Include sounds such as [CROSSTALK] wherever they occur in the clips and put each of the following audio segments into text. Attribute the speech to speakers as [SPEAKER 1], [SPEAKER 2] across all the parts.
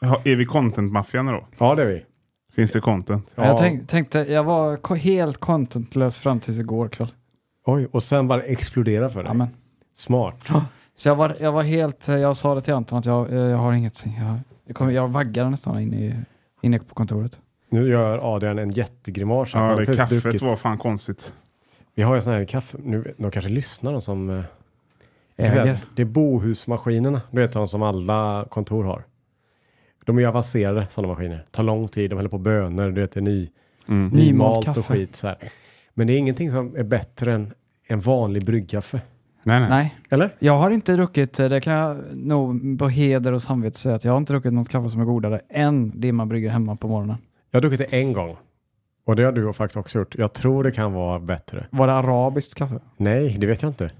[SPEAKER 1] Ha- Är vi content-maffian då?
[SPEAKER 2] Ja, det är vi.
[SPEAKER 1] Finns det content?
[SPEAKER 2] Ja.
[SPEAKER 3] Jag tänk, tänkte, jag var ko- helt contentlös fram tills igår kväll.
[SPEAKER 2] Oj, och sen bara explodera för dig.
[SPEAKER 3] Amen.
[SPEAKER 2] Smart.
[SPEAKER 3] Så jag var, jag var helt, eh, jag sa det till Anton att jag, eh, jag har inget, jag, jag, kommer, jag vaggade nästan in i, inne på kontoret.
[SPEAKER 2] Nu gör Adrian en jättegrimas. här, för
[SPEAKER 1] Ja,
[SPEAKER 2] han
[SPEAKER 1] det
[SPEAKER 2] har precis
[SPEAKER 1] kaffet
[SPEAKER 2] druckit.
[SPEAKER 1] var fan konstigt.
[SPEAKER 2] Vi har ju sån här kaffe. Nu, de kanske lyssnar de som... eh,
[SPEAKER 3] Äger.
[SPEAKER 2] så här, Det är Bohusmaskinerna. Du vet de som alla kontor har. De är ju avancerade sådana maskiner. Tar lång tid, de häller på bönor, du vet det är ny,
[SPEAKER 1] Mm.
[SPEAKER 2] nymalt och
[SPEAKER 3] kaffe.
[SPEAKER 2] skit så här. Men det är ingenting som är bättre än en vanlig bryggkaffe.
[SPEAKER 1] Nej, nej.
[SPEAKER 3] Nej,
[SPEAKER 2] Eller?
[SPEAKER 3] jag har inte druckit, eh, det kan jag nog på heder och samvete säga att jag har inte druckit något kaffe som är godare än det man brygger hemma på morgonen.
[SPEAKER 2] Jag har druckit det en gång. Och det har du faktiskt också gjort. Jag tror det kan vara bättre.
[SPEAKER 3] Var det arabiskt kaffe?
[SPEAKER 2] Nej, det vet jag inte.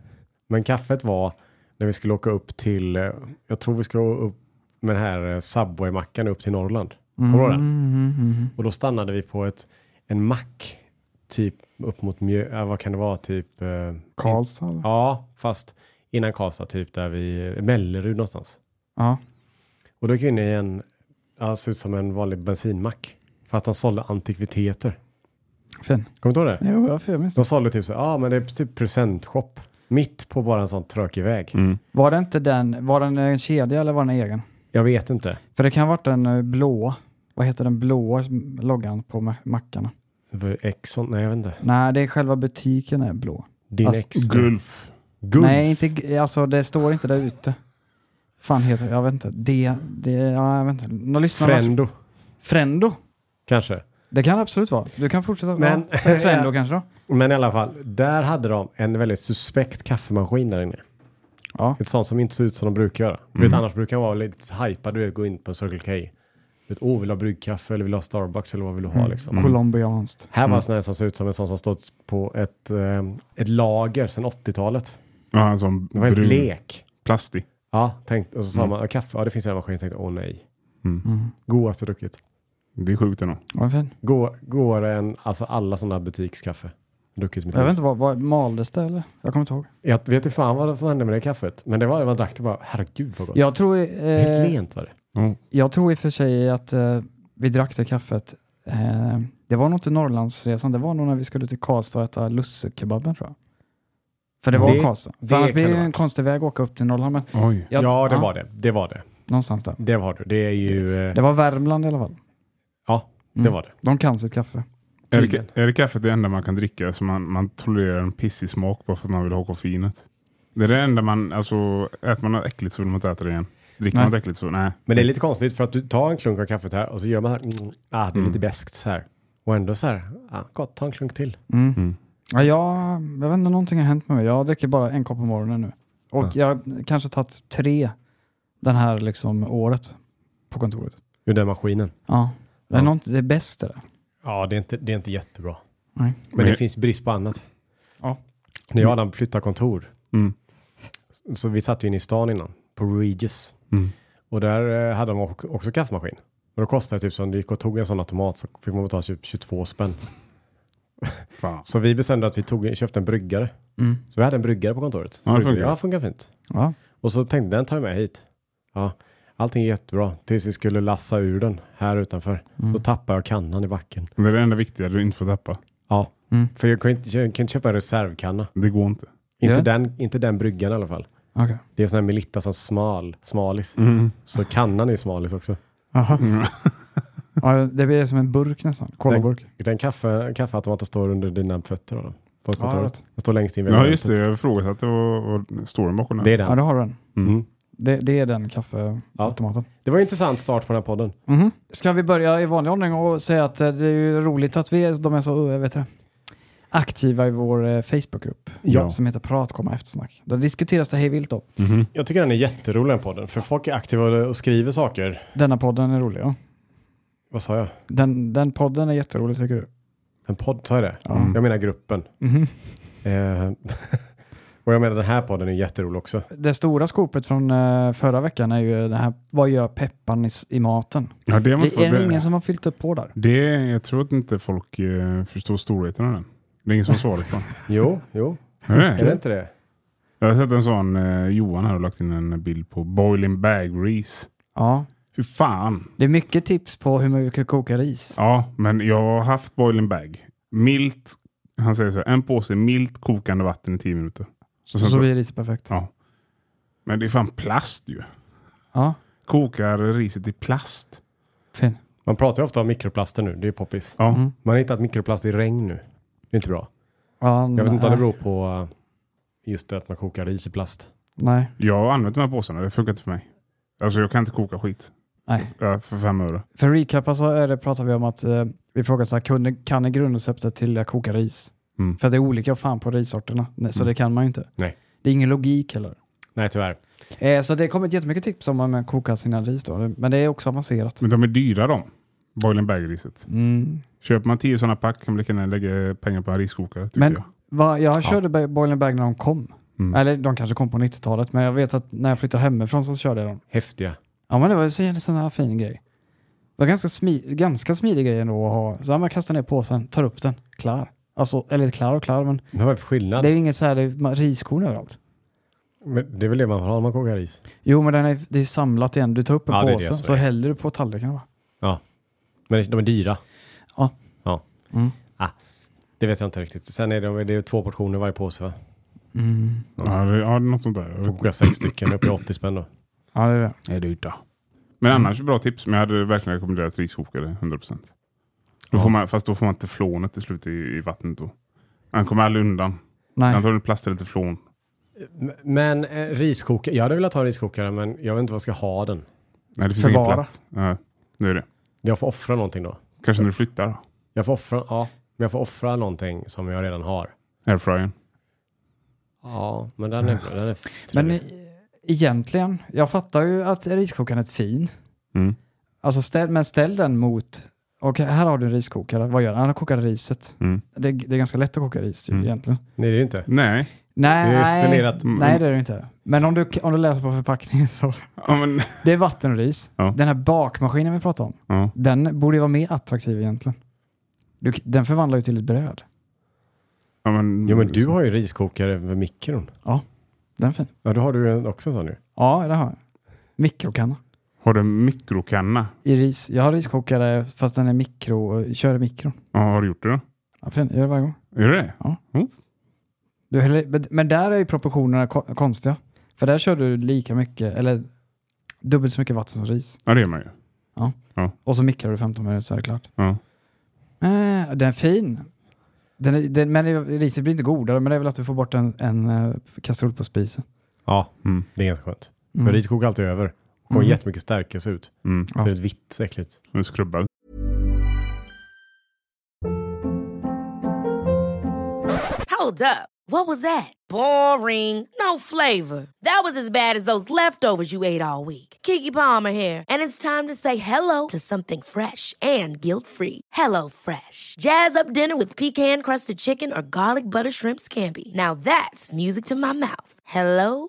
[SPEAKER 2] Men kaffet var när vi skulle åka upp till, eh, jag tror vi skulle upp med den här eh, Subway-mackan upp till Norrland. Kommer du ihåg den?
[SPEAKER 3] Mm, mm, mm.
[SPEAKER 2] Och då stannade vi på ett, en mack, typ upp mot Mjö, ja, vad kan det vara, typ? eh,
[SPEAKER 3] Karlstad? eller?
[SPEAKER 2] Ja, fast innan Karlstad, typ där vi, Mellerud någonstans.
[SPEAKER 3] Ja.
[SPEAKER 2] Och då gick vi in i en, ja, såg ut som en vanlig bensinmack. För att de sålde antikviteter.
[SPEAKER 3] Fin.
[SPEAKER 2] Kommer du ihåg det?
[SPEAKER 3] Jo, jag får- jag minns det.
[SPEAKER 2] De sålde typ så ja ah, men det är typ presentshop. Mitt på bara en sån tråkig väg.
[SPEAKER 1] Mm.
[SPEAKER 3] Var det inte den, var den en kedja eller var den egen?
[SPEAKER 2] Jag vet inte.
[SPEAKER 3] För det kan ha varit den eh, blåa. Vad heter den blåa loggan på ma- mackarna?
[SPEAKER 2] Exxon, nej jag vet inte.
[SPEAKER 3] Nej, det är själva butiken är blå.
[SPEAKER 2] Din
[SPEAKER 3] Alltså,
[SPEAKER 2] ex.
[SPEAKER 1] Gulf.
[SPEAKER 2] Gulf.
[SPEAKER 3] Nej, inte, g- alltså det står inte där ute. Fan heter det? Jag vet inte. Det, det, ja, jag vet inte. Någon lyssnare?
[SPEAKER 2] Frendo,
[SPEAKER 3] Frendo?
[SPEAKER 2] kanske.
[SPEAKER 3] Det kan det absolut vara. Du kan fortsätta.
[SPEAKER 2] Men-
[SPEAKER 3] Men, ja, Frendo kanske då?
[SPEAKER 2] Men i alla fall, där hade de en väldigt suspekt kaffemaskin där inne.
[SPEAKER 3] Ja. Mm.
[SPEAKER 2] Ett sånt som inte ser ut som de brukar göra. Du vet, annars brukar de vara lite hypad, du vet, gå in på en Circle K. Du vet, oh, vill du ha bryggkaffe eller vill du ha Starbucks eller vad vill du
[SPEAKER 3] Mm.
[SPEAKER 2] ha liksom.
[SPEAKER 3] Colombianskt.
[SPEAKER 2] Här var en sån här som ser ut som en sån som stått på ett, eh, ett lager sedan 80-talet.
[SPEAKER 1] Ja, en sån
[SPEAKER 2] Det var helt
[SPEAKER 1] brun
[SPEAKER 2] blek.
[SPEAKER 1] plastig.
[SPEAKER 2] Ja, tänkt, och så
[SPEAKER 3] Mm.
[SPEAKER 2] sa man, kaffe, ja det finns en maskin, jag tänkte, åh nej.
[SPEAKER 1] Mm.
[SPEAKER 2] Godaste druckit.
[SPEAKER 1] Det är sjukt ändå.
[SPEAKER 3] Ja, vad fin.
[SPEAKER 2] Gå- Godare än alltså alla sådana butikskaffe. Druckit i mitt
[SPEAKER 3] Jag vet
[SPEAKER 2] liv.
[SPEAKER 3] inte, vad, vad, maldes det eller? Jag kommer inte ihåg.
[SPEAKER 2] Jag vet inte fan vad som hände med det kaffet. Men det var, man drack det bara, herregud vad gott.
[SPEAKER 3] Jag tror...
[SPEAKER 2] Helt
[SPEAKER 3] Eh,
[SPEAKER 2] lent var det.
[SPEAKER 3] Jag tror i och för sig att eh, vi drack det kaffet. Eh, det var nog inte Norrlandsresan, det var nog när vi skulle till Karlstad och äta lussekebaben tror jag. För det var
[SPEAKER 2] Det-
[SPEAKER 3] Karlstad.
[SPEAKER 2] det
[SPEAKER 3] För annars
[SPEAKER 2] kan
[SPEAKER 3] blir det
[SPEAKER 2] det
[SPEAKER 3] ju
[SPEAKER 2] vara.
[SPEAKER 3] en konstig väg att åka upp till Norrland. Men
[SPEAKER 1] Oj.
[SPEAKER 3] jag-
[SPEAKER 2] ja, det var det. Det var det.
[SPEAKER 3] Någonstans där.
[SPEAKER 2] Det var det. Det är ju, eh,
[SPEAKER 3] Det var Värmland i alla fall.
[SPEAKER 2] ja, det
[SPEAKER 3] Mm.
[SPEAKER 2] var det.
[SPEAKER 3] De kan sitt kaffe.
[SPEAKER 1] Är
[SPEAKER 2] Tydligen.
[SPEAKER 1] det, är det kaffet det enda man kan dricka så man, man tolererar en pissig smak bara för att man vill ha koffeinet? Det är det enda man, alltså äter man något äckligt så vill man inte äta det igen. Dricker
[SPEAKER 3] Nej.
[SPEAKER 1] man något äckligt så, nej.
[SPEAKER 2] Men det är lite konstigt för att du tar en klunk av kaffet här och så gör man här, mm, ah, det är lite beskt så här. Och ändå så här, ah, gott, ta en klunk till.
[SPEAKER 3] Mm.
[SPEAKER 1] Mm.
[SPEAKER 3] Ja, jag, jag vet inte, någonting har hänt med mig. Jag dricker bara en kopp på morgonen nu. Och jag har kanske tagit tre den här liksom året på kontoret.
[SPEAKER 2] Ur den maskinen.
[SPEAKER 3] Ja. Det är,
[SPEAKER 2] Ja.
[SPEAKER 3] ja. det är bäst det där.
[SPEAKER 2] Ja, det är inte, det är inte jättebra.
[SPEAKER 3] Nej.
[SPEAKER 2] Men,
[SPEAKER 1] Men
[SPEAKER 2] det
[SPEAKER 1] jag-
[SPEAKER 2] finns brist på annat.
[SPEAKER 3] Ja.
[SPEAKER 2] När jag och Adam flyttade kontor,
[SPEAKER 1] Mm.
[SPEAKER 2] så vi satt ju inne i stan innan, på Regis.
[SPEAKER 1] Mm.
[SPEAKER 2] Och där eh, hade de ock- också kaffemaskin. Men då kostade det typ som, du gick och tog en sån automat så fick man betala typ 22 spänn.
[SPEAKER 1] Fan.
[SPEAKER 2] Så vi bestämde att vi tog, köpte en bryggare.
[SPEAKER 3] Mm.
[SPEAKER 2] Så vi hade en bryggare på kontoret.
[SPEAKER 1] Ja, det funkar.
[SPEAKER 2] Ja, funkar fint.
[SPEAKER 3] Ja.
[SPEAKER 2] Och så tänkte den tar jag med hit. Ja, allting är jättebra. Tills vi skulle lassa ur den här utanför. Då tappade jag kannan i backen.
[SPEAKER 1] Det är det enda viktiga du inte får tappa.
[SPEAKER 2] Ja,
[SPEAKER 3] Mm.
[SPEAKER 2] för jag kan ju inte, jag kan inte köpa en reservkanna.
[SPEAKER 1] Det går inte.
[SPEAKER 2] Inte,
[SPEAKER 3] Ja.
[SPEAKER 2] den, inte den bryggan i alla fall.
[SPEAKER 3] Okej.
[SPEAKER 2] Det är sån här Melitta som smal, smalis. Så kannan är smalis också.
[SPEAKER 1] Mm.
[SPEAKER 3] Ja, det blir som en burk nästan. Kolaburk.
[SPEAKER 2] Den kaffe, kaffeautomaten står under dina fötter då, på
[SPEAKER 3] Ja, jag
[SPEAKER 2] kontoret.
[SPEAKER 3] vet.
[SPEAKER 2] den står längst in vid
[SPEAKER 1] Ja
[SPEAKER 2] mötet.
[SPEAKER 1] just det, jag ifrågasatte vad, vad står den bakom den?
[SPEAKER 2] Det är
[SPEAKER 3] Ja,
[SPEAKER 2] den.
[SPEAKER 3] det har du den.
[SPEAKER 2] Mm.
[SPEAKER 3] Det, det är den kaffeautomaten.
[SPEAKER 2] Det var en intressant start på den här podden.
[SPEAKER 3] Mhm. Ska vi börja i vanlig ordning och säga att eh, det är ju roligt att vi är, de är så eh, vet du, det, aktiva i vår eh, Facebookgrupp
[SPEAKER 2] Ja.
[SPEAKER 3] som heter Prat, komma eftersnack. Där diskuteras det hejvilt då.
[SPEAKER 1] Mm.
[SPEAKER 2] Jag tycker den är jätterolig den podden, för folk är aktiva och skriver saker.
[SPEAKER 3] Denna podden är rolig. Ja.
[SPEAKER 2] Vad sa jag?
[SPEAKER 3] Den, den podden är jätterolig tycker du?
[SPEAKER 2] En podd, sa jag det?
[SPEAKER 3] Mm. Ja.
[SPEAKER 2] Jag menar gruppen.
[SPEAKER 3] Mhm.
[SPEAKER 2] Eh, [LAUGHS] och jag menar den här podden är jätterolig också.
[SPEAKER 3] Det stora skopet från eh, förra veckan är ju det här, vad gör pepparn i, s- i maten?
[SPEAKER 1] Ja, det har man
[SPEAKER 3] Det
[SPEAKER 1] inte
[SPEAKER 3] är
[SPEAKER 1] fått.
[SPEAKER 3] det ingen
[SPEAKER 1] Det,
[SPEAKER 3] som har fyllt upp på där.
[SPEAKER 1] det, jag tror att inte folk eh, förstår storheten av den. Det är ingen som har svarat på den.
[SPEAKER 2] Jo, jo.
[SPEAKER 1] Är det?
[SPEAKER 2] Är det inte det?
[SPEAKER 1] Jag har sett en sån, eh, Johan här har lagt in en bild på Boiling Bag Reese.
[SPEAKER 3] Ja,
[SPEAKER 1] Hur fan?
[SPEAKER 3] Det är mycket tips på hur man kan koka ris.
[SPEAKER 1] Ja, men jag har haft boiling bag. Milt, han säger så här, en påse milt kokande vatten i tio minuter. Så
[SPEAKER 3] och
[SPEAKER 1] sen
[SPEAKER 3] så
[SPEAKER 1] tar-
[SPEAKER 3] blir riset perfekt.
[SPEAKER 1] Ja. Men det är fan plast ju.
[SPEAKER 3] Ja,
[SPEAKER 1] Kokar riset i plast.
[SPEAKER 3] fin.
[SPEAKER 2] Man pratar ju ofta om mikroplaster nu, det är poppis.
[SPEAKER 1] Ja,
[SPEAKER 3] Mm.
[SPEAKER 2] Man har hittat mikroplast i regn nu. Det är inte bra.
[SPEAKER 3] Ja,
[SPEAKER 2] Jag vet inte om det
[SPEAKER 3] nej.
[SPEAKER 2] beror på eh, just det att man kokar ris i plast.
[SPEAKER 3] Nej,
[SPEAKER 1] jag har använt de här påsarna. Det funkar inte för mig. Alltså jag kan inte koka skit
[SPEAKER 3] nej.
[SPEAKER 1] Ja, för fem öre.
[SPEAKER 3] För att recapa så är det, pratar vi om att eh, vi frågar så här, kunde, kan ni grundreceptet till att koka ris?
[SPEAKER 1] Mm.
[SPEAKER 3] För att det är olika fan på rissorterna, nej, så
[SPEAKER 1] Mm.
[SPEAKER 3] det kan man ju inte.
[SPEAKER 2] Nej.
[SPEAKER 3] Det är ingen logik heller.
[SPEAKER 2] Nej, tyvärr.
[SPEAKER 3] Eh, så det har kommit jättemycket tips om hur man kokar sina ris då, men det är också avancerat.
[SPEAKER 1] Men de är dyra de. Boiling bag-riset.
[SPEAKER 3] Mm.
[SPEAKER 1] Köper man tio sådana pack kan man lika gärna lägga pengar på en riskokare. Tycker
[SPEAKER 3] Men-
[SPEAKER 1] jag.
[SPEAKER 3] Va, jag körde ja. Boiling Bag när de kom.
[SPEAKER 1] Mm.
[SPEAKER 3] Eller de kanske kom på 90-talet, men jag vet att när jag flyttade hemifrån så körde jag dem.
[SPEAKER 2] Häftiga.
[SPEAKER 3] Ja, men det var ju så en sån här fin grej. Det var ganska, smi, ganska smidig grej ändå att ha. Så här, man kastar ner påsen, tar upp den, klar. Alltså, eller klar och klar, men
[SPEAKER 2] Men vad är för skillnad?
[SPEAKER 3] det är
[SPEAKER 2] Det...
[SPEAKER 3] ju inget så här det är ma- riskorn överallt.
[SPEAKER 2] Men det är väl det man har när man kokar ris?
[SPEAKER 3] Jo, men den är, det är samlat igen. Du tar upp en
[SPEAKER 2] Ja, det är det
[SPEAKER 3] påse,
[SPEAKER 2] som
[SPEAKER 3] så
[SPEAKER 2] är.
[SPEAKER 3] häller du på tallriken. Va?
[SPEAKER 2] Men de är dyra. Ah,
[SPEAKER 3] Mm.
[SPEAKER 2] Det vet jag inte riktigt. Sen är det, det är två portioner varje påse va?
[SPEAKER 1] Ja, det, ja, något sånt där. Jag vet
[SPEAKER 2] Får koka sex stycken, [CLEARS THROAT] uppe i 80 spänn då.
[SPEAKER 3] Ja, det är det.
[SPEAKER 1] är dyrt då. Men
[SPEAKER 3] Mm.
[SPEAKER 1] annars bra tips. Men jag hade verkligen rekommenderat riskokare 100%. Då
[SPEAKER 2] Ja.
[SPEAKER 1] får man, fast då får man teflonet till slut i, i vattnet då. Han kommer aldrig undan.
[SPEAKER 3] Nej.
[SPEAKER 1] Antagligen plast eller teflon.
[SPEAKER 2] M- Men eh, riskokare, jag hade velat ha riskokare men jag vet inte vad jag ska ha den.
[SPEAKER 1] Nej, det finns ingen
[SPEAKER 3] Förvara.
[SPEAKER 1] plats. Nej, det är det.
[SPEAKER 2] Jag får offra någonting då.
[SPEAKER 1] Kanske när du flyttar då.
[SPEAKER 2] Jag får offra, ja, men jag får offra någonting som jag redan har.
[SPEAKER 1] Airfryern.
[SPEAKER 2] Ja, men den är, [LAUGHS] den är
[SPEAKER 3] Men
[SPEAKER 2] trevlig.
[SPEAKER 3] e- egentligen, jag fattar ju att riskokaren är ett fin.
[SPEAKER 1] Mm.
[SPEAKER 3] Alltså ställ, men ställ den mot, okej här har du en riskokare, vad gör den? Han kokar riset.
[SPEAKER 1] Mm.
[SPEAKER 3] Det, det är ganska lätt att koka ris ju,
[SPEAKER 1] Mm.
[SPEAKER 3] egentligen.
[SPEAKER 2] Nej, det är ju inte.
[SPEAKER 1] Nej.
[SPEAKER 3] Nej,
[SPEAKER 2] Det är mm.
[SPEAKER 3] nej,
[SPEAKER 2] spenderat-
[SPEAKER 3] nej det är det inte. Men om du, om du läser på förpackningen så,
[SPEAKER 1] Ja, men, [LAUGHS]
[SPEAKER 3] det är vatten och ris.
[SPEAKER 1] Ja.
[SPEAKER 3] Den här bakmaskinen vi pratade om,
[SPEAKER 1] ja.
[SPEAKER 3] den borde ju vara mer attraktiv egentligen. Du, den förvandlar ju till ett bröd.
[SPEAKER 1] Ja, men,
[SPEAKER 2] Jo, men du har ju riskokare med mikron.
[SPEAKER 3] Den är fin.
[SPEAKER 2] Ja, då har du en också sån nu.
[SPEAKER 3] Ja, det har jag. Mikrokanna
[SPEAKER 1] Har du en mikrokanna?
[SPEAKER 3] i ris. Jag har riskokare fast den är mikro, kör i mikron.
[SPEAKER 1] Ja, har du gjort det då?
[SPEAKER 3] Ja, fin, jag gör det varje gång.
[SPEAKER 1] Är det det?
[SPEAKER 3] Du häller, men- men där är ju proportionerna ko- konstiga. För där kör du lika mycket, eller dubbelt så mycket vatten som ris.
[SPEAKER 1] Ja, det är man ju.
[SPEAKER 3] Och så mikrar du 15 minuter så är det klart.
[SPEAKER 1] Ja.
[SPEAKER 3] Eh, den är fin. Den är, den, men det- riset blir inte godare, men det är väl att du får bort en, en eh, kastrull på spisen.
[SPEAKER 2] Ja,
[SPEAKER 1] Mm.
[SPEAKER 2] det är ganska skönt.
[SPEAKER 3] Mm.
[SPEAKER 2] För ris kokar alltid över. Och kommer
[SPEAKER 3] Mm.
[SPEAKER 2] jättemycket stärkelse ut.
[SPEAKER 1] Mm.
[SPEAKER 3] Ja.
[SPEAKER 2] Så det är ett vitt, så äckligt.
[SPEAKER 1] Den är skrubbad.
[SPEAKER 4] Hold up. What was that? Boring. No flavor. That was as bad as those leftovers you ate all week. Kiki Palmer here, and it's time to say hello to something fresh and guilt-free. Hello Fresh. Jazz up dinner with pecan-crusted chicken or garlic butter shrimp scampi. Now that's music to my mouth. Hello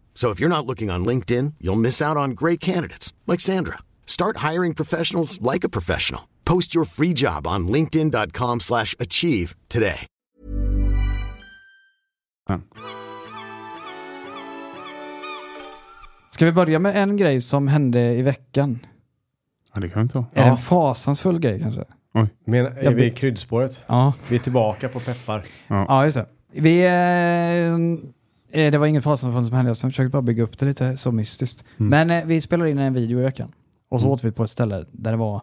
[SPEAKER 5] So if you're not looking on LinkedIn, you'll miss out on great candidates like Sandra. Start hiring professionals like a professional. Post your free job on linkedin.com/achieve slash achieve today.
[SPEAKER 3] Ska vi börja med en grej som hände i veckan?
[SPEAKER 1] Ja, det kan vi inte ha.
[SPEAKER 3] Är det
[SPEAKER 2] Ja.
[SPEAKER 3] en fasansfull grej kanske?
[SPEAKER 2] Men är
[SPEAKER 3] Jag
[SPEAKER 2] vi i
[SPEAKER 3] be-
[SPEAKER 2] kryddspåret?
[SPEAKER 3] Ja,
[SPEAKER 2] Vi är tillbaka på peppar.
[SPEAKER 3] ja just det. Vi, eh, eh, det var ingen fasansfull som hände, jag försökte bara bygga upp det lite så mystiskt. Men eh, vi spelade in en video i veckan och så åt vi på ett ställe där det var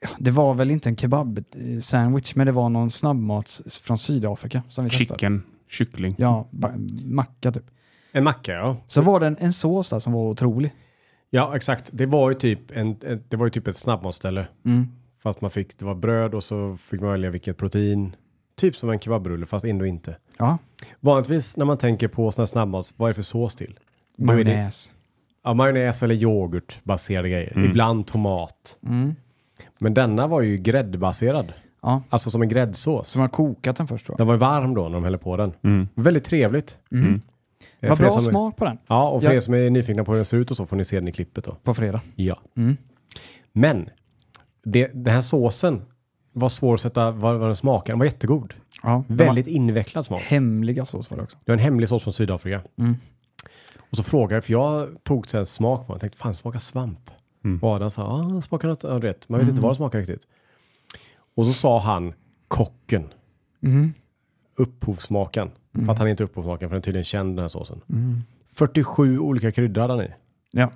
[SPEAKER 3] ja, det var väl inte en kebab-sandwich, men det var någon snabbmat s- från Sydafrika som vi testade.
[SPEAKER 1] Chicken. Kyckling.
[SPEAKER 3] Ja, ba- macka typ.
[SPEAKER 2] En macka, ja.
[SPEAKER 3] Så var det en, en sås där som var otrolig.
[SPEAKER 2] Ja, exakt. Det var ju typ, en, en- det var ju typ ett snabbmatsställe.
[SPEAKER 3] Mm.
[SPEAKER 2] Fast man fick, det var bröd och så fick man välja vilket protein. Typ som en kebabrulle, fast ändå inte.
[SPEAKER 3] Ja.
[SPEAKER 2] Vanligtvis när man tänker på sådana snabbmats, vad är det för sås till? Då är det
[SPEAKER 3] Majonnäs.
[SPEAKER 2] Ja, majonnäs eller yoghurtbaserade grejer.
[SPEAKER 3] Mm.
[SPEAKER 2] Ibland tomat. Men denna var ju gräddbaserad.
[SPEAKER 3] Ja.
[SPEAKER 2] Alltså som en gräddsås.
[SPEAKER 3] Så man har kokat den först tror jag.
[SPEAKER 2] Den var ju varm då när de hällde på den. Väldigt trevligt. Eh,
[SPEAKER 3] Mm. Vad
[SPEAKER 2] för er
[SPEAKER 3] bra
[SPEAKER 2] som-
[SPEAKER 3] smak på den
[SPEAKER 2] Ja, och för
[SPEAKER 3] Ja.
[SPEAKER 2] er som är nyfikna på hur den ser ut och så får ni se den i klippet då.
[SPEAKER 3] på fredag.
[SPEAKER 2] Ja.
[SPEAKER 3] Mm.
[SPEAKER 2] Men det, den här såsen var svår att sätta vad, vad den smakar. Den var jättegod.
[SPEAKER 3] Ja, de
[SPEAKER 2] Väldigt invecklad smak.
[SPEAKER 3] har Hemliga sås var det också.
[SPEAKER 2] Det var en hemlig sås från Sydafrika.
[SPEAKER 3] Mm.
[SPEAKER 2] Och så frågade jag, för jag tog sen smak på den. Tänkte, fan smakar svamp.
[SPEAKER 3] Mm.
[SPEAKER 2] Och Adam sa, ja ah, smakar något. Ja, du vet. Man vet inte vad det smakar riktigt. Och så sa han, kocken. Mm. Upphovsmakaren.
[SPEAKER 3] Mm.
[SPEAKER 2] För att han är inte upphovsmakaren, för den är tydligen känd den här såsen. 47 olika kryddor hade han i.
[SPEAKER 3] Ja.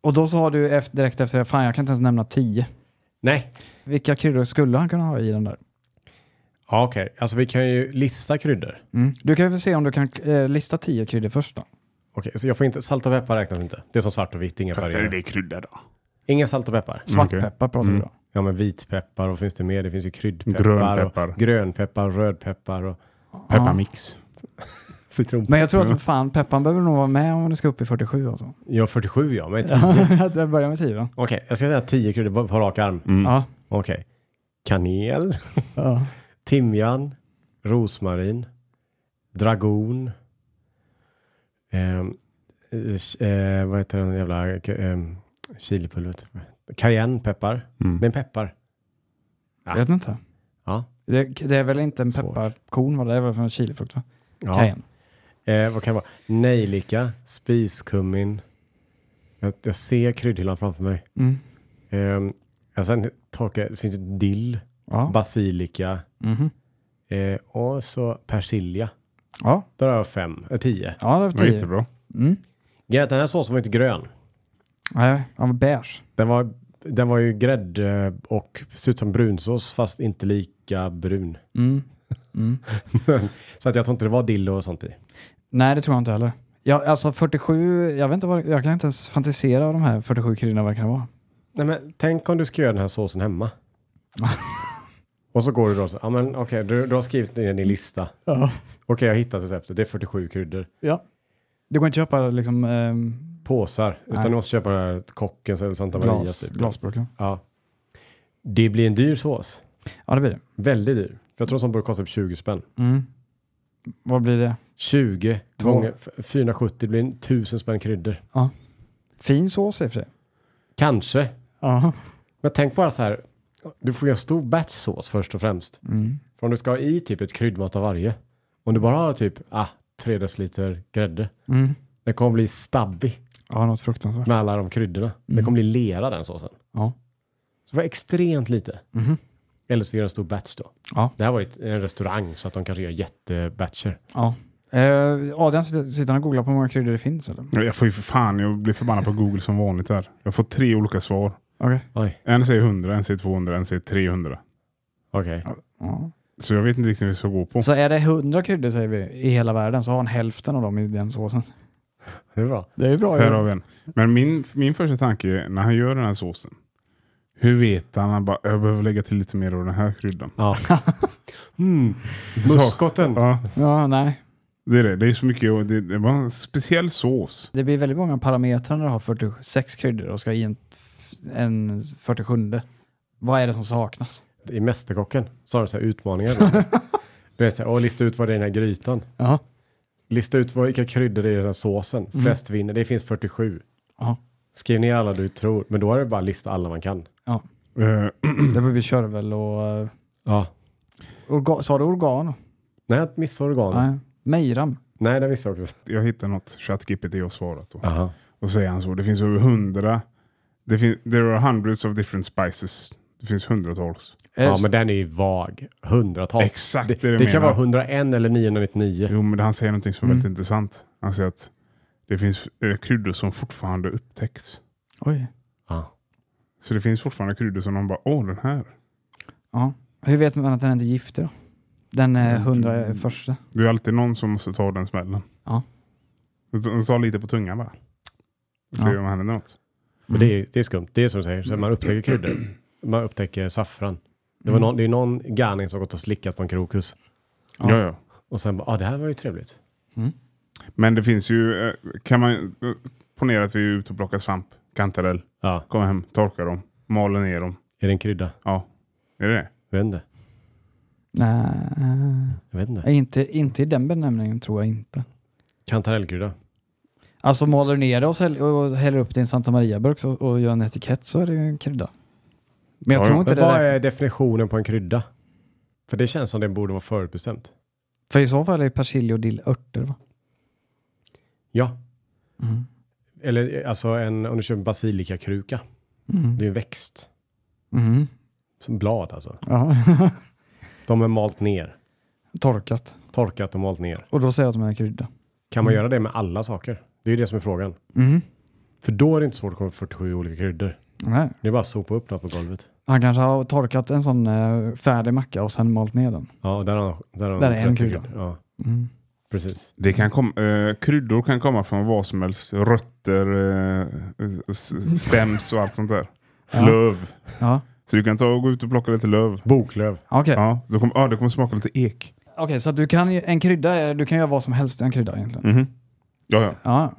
[SPEAKER 3] Och då sa du efter, direkt efter det, fan jag kan inte ens nämna tio.
[SPEAKER 2] Nej,
[SPEAKER 3] Vilka kryddor skulle han kunna ha i den där?
[SPEAKER 2] ja, okej. Alltså vi kan ju lista kryddor.
[SPEAKER 3] Mm. Du kan väl se om du kan eh, lista tio kryddor först då.
[SPEAKER 2] Okej, så jag får inte, salt och peppar räknas inte. Det är som svart och vitt, inga
[SPEAKER 1] Varför är
[SPEAKER 2] färger.
[SPEAKER 1] det krydda då?
[SPEAKER 2] Ingen salt och peppar.
[SPEAKER 3] Svartpeppar pratar vi då.
[SPEAKER 2] Ja men vitpeppar och finns det mer? Det finns ju kryddpeppar.
[SPEAKER 1] Grönpeppar.
[SPEAKER 2] Och grönpeppar och rödpeppar och
[SPEAKER 1] Pepparmix.
[SPEAKER 3] [LAUGHS]
[SPEAKER 2] citron.
[SPEAKER 3] Men jag tror att fan, pepparn behöver nog vara med om det ska upp i 47 alltså.
[SPEAKER 2] Ja 47 ja, men [LAUGHS] 10. Okej,
[SPEAKER 3] [LAUGHS] Att jag börjar med 10 då.
[SPEAKER 2] jag ska säga 10 kryddor på- på rak arm.
[SPEAKER 3] Ja.
[SPEAKER 2] Okej. Kanel,
[SPEAKER 3] ja.
[SPEAKER 2] timjan, rosmarin, dragon. ehm, eh, eh, vad heter den jävla eh, chilipulvret? Cayennepeppar. Det är en peppar.
[SPEAKER 3] Jag vet inte.
[SPEAKER 2] Ja.
[SPEAKER 3] Det, det är väl inte en
[SPEAKER 2] Svårt.
[SPEAKER 3] pepparkorn va? Det är väl från chilifrukt va?
[SPEAKER 2] ja.
[SPEAKER 3] Cayenne.
[SPEAKER 2] Eh, vad kan det vara? Nejlika, spiskummin. Jag, jag ser kryddhyllan framför mig.
[SPEAKER 3] Mm.
[SPEAKER 2] Eh, jag sen torkar, det finns dill,
[SPEAKER 3] Ja. Mhm.
[SPEAKER 2] basilika eh, och så persilja.
[SPEAKER 3] ja.
[SPEAKER 2] Där har jag fem, eh, tio.
[SPEAKER 3] Ja, det var
[SPEAKER 1] Det var
[SPEAKER 3] 10.
[SPEAKER 1] jättebra.
[SPEAKER 2] Grejen är att Den här såsen var inte grön.
[SPEAKER 3] Nej, han var beige.
[SPEAKER 2] Den var, den var ju grädde eh, och ser ut som brunsås fast inte lika brun.
[SPEAKER 3] Mm.
[SPEAKER 2] [LAUGHS] så att jag tror inte det var dill och sånt i.
[SPEAKER 3] Nej, det tror jag inte heller. Jag, alltså 47, jag vet inte vad, jag kan inte ens fantisera vad de här 47 kryddorna verkar vara.
[SPEAKER 2] Nej, men tänk om du ska göra den här såsen hemma. och så går du då och så, ja men okej, du, du har skrivit ner din lista.
[SPEAKER 3] Ja.
[SPEAKER 2] Okej, jag har hittat receptet, det är 47 kryddor.
[SPEAKER 3] ja. Det går inte att köpa liksom ehm,
[SPEAKER 2] Påsar, utan
[SPEAKER 3] Nej.
[SPEAKER 2] du måste köpa den här kockens eller Santa Marias.
[SPEAKER 3] glas,
[SPEAKER 2] Typ.
[SPEAKER 3] glasburkar.
[SPEAKER 2] Ja. Det blir en dyr sås.
[SPEAKER 3] Ja, det blir det.
[SPEAKER 2] Väldigt dyr. För Jag tror en sån burk kostar typ 20 spänn.
[SPEAKER 3] Mm. Vad blir det?
[SPEAKER 2] 20
[SPEAKER 3] Två.
[SPEAKER 2] gånger f- 470 blir en 1000 spänn kryddor.
[SPEAKER 3] Fin sås i och för sig.
[SPEAKER 2] Kanske.
[SPEAKER 3] Ja.
[SPEAKER 2] Men tänk bara så här, du får göra en stor batch sås först och främst.
[SPEAKER 3] Mm.
[SPEAKER 2] För om du ska ha i typ ett kryddmått av varje. Om du bara har typ ah, 3 deciliter grädde.
[SPEAKER 3] Mm.
[SPEAKER 2] Den kommer bli stabbig
[SPEAKER 3] Ja, något fruktansvärt.
[SPEAKER 2] med alla de kryddorna. Den
[SPEAKER 3] Mm.
[SPEAKER 2] kommer bli lera den såsen.
[SPEAKER 3] Ja.
[SPEAKER 2] Så det var extremt lite.
[SPEAKER 3] Mhm.
[SPEAKER 2] Eller så får vi göra en stor batch då.
[SPEAKER 3] Ja.
[SPEAKER 2] Det här var ju ett- en restaurang så att de kanske gör jättebatcher.
[SPEAKER 3] Ja. Eh, Adrian, sitter, sitter han och googlar på hur många kryddor det finns eller?
[SPEAKER 1] Jag får ju för fan, jag blir förbannad på Google som vanligt här. Jag får tre olika svar.
[SPEAKER 3] Okej.
[SPEAKER 2] Oj,
[SPEAKER 1] En säger 100, en säger 200, en säger 300.
[SPEAKER 2] okej.
[SPEAKER 3] Ja.
[SPEAKER 1] Så jag vet inte riktigt vad vi ska gå på.
[SPEAKER 3] Så är det 100 kryddor säger vi i hela världen så har han hälften av dem i den såsen.
[SPEAKER 2] Det är bra.
[SPEAKER 3] Det är ju bra.
[SPEAKER 1] Här har vi en. Men min, min första tanke är, när han gör den här såsen, hur vet han? Han bara, jag behöver lägga till lite mer av den här kryddan.
[SPEAKER 2] Ja. [LAUGHS] mm. Muskotten.
[SPEAKER 1] Ja,
[SPEAKER 3] [LAUGHS] Ja, nej.
[SPEAKER 1] det är det. Det är så mycket, och det, det var en speciell sås.
[SPEAKER 3] Det blir väldigt många parametrar när du har 46 kryddor och ska i en, en 47. Vad är det som saknas?
[SPEAKER 2] I Mästerkocken så har de så här utmaningar. då. du vet, så här, "Åh, lista ut vad det är i den här grytan.
[SPEAKER 3] Ja.
[SPEAKER 2] Lista ut vad- vilka kryddor det är i den här såsen. Flest vinner. Det finns 47.
[SPEAKER 3] Ja.
[SPEAKER 2] Skriv ner alla du tror. Men då är det bara att lista alla man kan.
[SPEAKER 1] Eh,
[SPEAKER 3] Det blir körvel och... eh,
[SPEAKER 2] Ja.
[SPEAKER 3] Orga, sa du organ?
[SPEAKER 2] Nej, jag missade organen. Nej,
[SPEAKER 3] Nej. Mejram.
[SPEAKER 2] Nej den missade jag också.
[SPEAKER 1] jag hittade något ChatGPT och svarat på.
[SPEAKER 2] Aha.
[SPEAKER 1] Och säger han så, det finns över hundra. Det finns, there are hundreds of different spices. Det finns hundratals.
[SPEAKER 3] Eh,
[SPEAKER 2] Ja, men den är ju vag. Hundratals.
[SPEAKER 1] Exakt
[SPEAKER 2] det,
[SPEAKER 1] det du
[SPEAKER 2] det, kan
[SPEAKER 1] menar.
[SPEAKER 2] vara 101 eller 999.
[SPEAKER 1] Jo, men han säger någonting
[SPEAKER 3] Mm.
[SPEAKER 1] som är väldigt intressant. Han säger att det finns eh, kryddor som fortfarande upptäcks.
[SPEAKER 3] Oj.
[SPEAKER 2] Ja.
[SPEAKER 1] Så det finns fortfarande kryddor som de bara, åh den här.
[SPEAKER 3] Ja. Hur vet man att den inte är giftig då? Den eh, 101.
[SPEAKER 1] Det är ju alltid någon som måste ta den smällen.
[SPEAKER 3] Ja.
[SPEAKER 1] Ta- Ta lite på tungan bara. Se
[SPEAKER 3] Ja.
[SPEAKER 1] om det händer något.
[SPEAKER 2] Men det, är, det är skumt. Det är som du säger. Så man upptäcker kryddor. Man upptäcker saffran. Det,
[SPEAKER 3] Mm.
[SPEAKER 2] var någon, det är någon galning som har gått och slickat på en krokus.
[SPEAKER 1] Ja. Ja,
[SPEAKER 2] Och sen bara, ah, det här var ju trevligt.
[SPEAKER 1] Men det finns ju, eh, kan man, eh, ponera att vi är ute och plockar svamp, kantarell,
[SPEAKER 2] Ja,
[SPEAKER 1] kommer hem, torkar dem, maler ner dem.
[SPEAKER 2] är det en krydda?
[SPEAKER 1] Ja, är det det?
[SPEAKER 2] Jag vet inte.
[SPEAKER 3] Nej,
[SPEAKER 2] Jag vet inte.
[SPEAKER 3] Nej, inte, inte i den benämningen tror jag inte.
[SPEAKER 2] Kantarellkrydda.
[SPEAKER 3] Alltså målar du ner det och, sälj, och häller upp det i en Santa Maria-burk så- och gör en etikett så är det ju en krydda. Men jag
[SPEAKER 1] Ja,
[SPEAKER 3] tror
[SPEAKER 1] ja.
[SPEAKER 3] inte
[SPEAKER 2] Men
[SPEAKER 3] det.
[SPEAKER 2] vad
[SPEAKER 3] där-
[SPEAKER 2] är definitionen på en krydda? För det känns som det borde vara förutbestämt.
[SPEAKER 3] För i så fall är det persilja och dill örter va?
[SPEAKER 2] Ja,
[SPEAKER 3] Mm.
[SPEAKER 2] eller eh, alltså en, om du köper en basilikakruka.
[SPEAKER 3] Mm.
[SPEAKER 2] Det är ju en växt.
[SPEAKER 3] Mm.
[SPEAKER 2] Som blad alltså.
[SPEAKER 3] Ja.
[SPEAKER 2] De är malt ner.
[SPEAKER 3] [LAUGHS] Torkat.
[SPEAKER 2] Torkat och malt ner.
[SPEAKER 3] Och då säger jag att de är en krydda.
[SPEAKER 2] Kan man göra det med alla saker? Det är ju det som är frågan.
[SPEAKER 3] Mm.
[SPEAKER 2] För då är det inte svårt att komma på 47 olika kryddor.
[SPEAKER 3] Nej.
[SPEAKER 2] Det är bara att sopa upp något på golvet.
[SPEAKER 3] Han kanske har torkat en sån eh, färdig macka och sen malt ner den.
[SPEAKER 2] Ja, och där har där har
[SPEAKER 3] Där
[SPEAKER 2] man
[SPEAKER 3] är
[SPEAKER 2] 30
[SPEAKER 3] en krydda.
[SPEAKER 2] kryddor. Ja,
[SPEAKER 3] Mm.
[SPEAKER 2] precis.
[SPEAKER 1] det kan kom, eh, kryddor kan komma från vad som helst. Rötter, eh, s- stems och allt sånt där. Löv.
[SPEAKER 3] Ja,
[SPEAKER 1] Så du kan ta och gå ut och plocka lite löv.
[SPEAKER 2] Boklöv.
[SPEAKER 3] okej.
[SPEAKER 1] Ja, då kommer, ah, det kommer smaka lite ek.
[SPEAKER 3] Okej, så att du kan ju, en krydda, är- du kan göra vad som helst i en krydda
[SPEAKER 2] Mm.
[SPEAKER 3] egentligen.
[SPEAKER 1] Ja, ja,
[SPEAKER 3] Ja.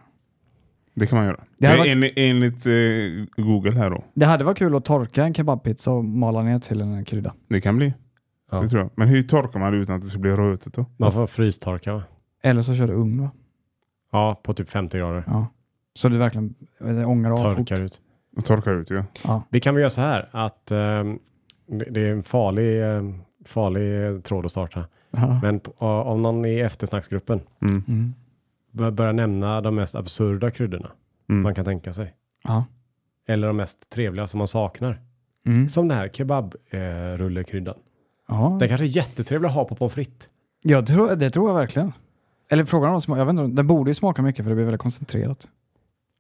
[SPEAKER 1] det kan man göra.
[SPEAKER 3] Det här
[SPEAKER 1] Men
[SPEAKER 3] var-
[SPEAKER 1] enligt, enligt eh, Google här då.
[SPEAKER 3] Det hade varit kul att torka en kebabpizza och mala ner till en krydda.
[SPEAKER 1] Det kan bli.
[SPEAKER 2] Ja.
[SPEAKER 1] Det tror jag. Men hur torkar man det utan att det ska bli rötet då?
[SPEAKER 2] Man får frystorka va?
[SPEAKER 3] Eller så kör du ugn va?
[SPEAKER 2] Ja, på typ 50 grader.
[SPEAKER 3] Ja. Så du verkligen eh, ångar av fort.
[SPEAKER 2] Torkar ut.
[SPEAKER 1] Och torkar ut ju.
[SPEAKER 2] Vi kan väl göra så här att ehm, det det är en farlig, ehm, farlig eh, tråd att starta.
[SPEAKER 3] Ja.
[SPEAKER 2] Men på- a- om någon i eftersnacksgruppen
[SPEAKER 1] Mm.
[SPEAKER 3] Mm.
[SPEAKER 2] bör- börjar nämna de mest absurda kryddorna
[SPEAKER 1] Mm.
[SPEAKER 2] man kan tänka sig.
[SPEAKER 3] Ja.
[SPEAKER 2] Eller de mest trevliga som man saknar.
[SPEAKER 3] Mm.
[SPEAKER 2] Som den här kebabrullekryddan.
[SPEAKER 3] Ja.
[SPEAKER 2] Den kanske är jättetrevlig att ha på pommes frites.
[SPEAKER 3] Jag tror, det tror jag verkligen. Eller frågan om smak, jag vet inte, den borde ju smaka mycket för det blir väldigt koncentrerat.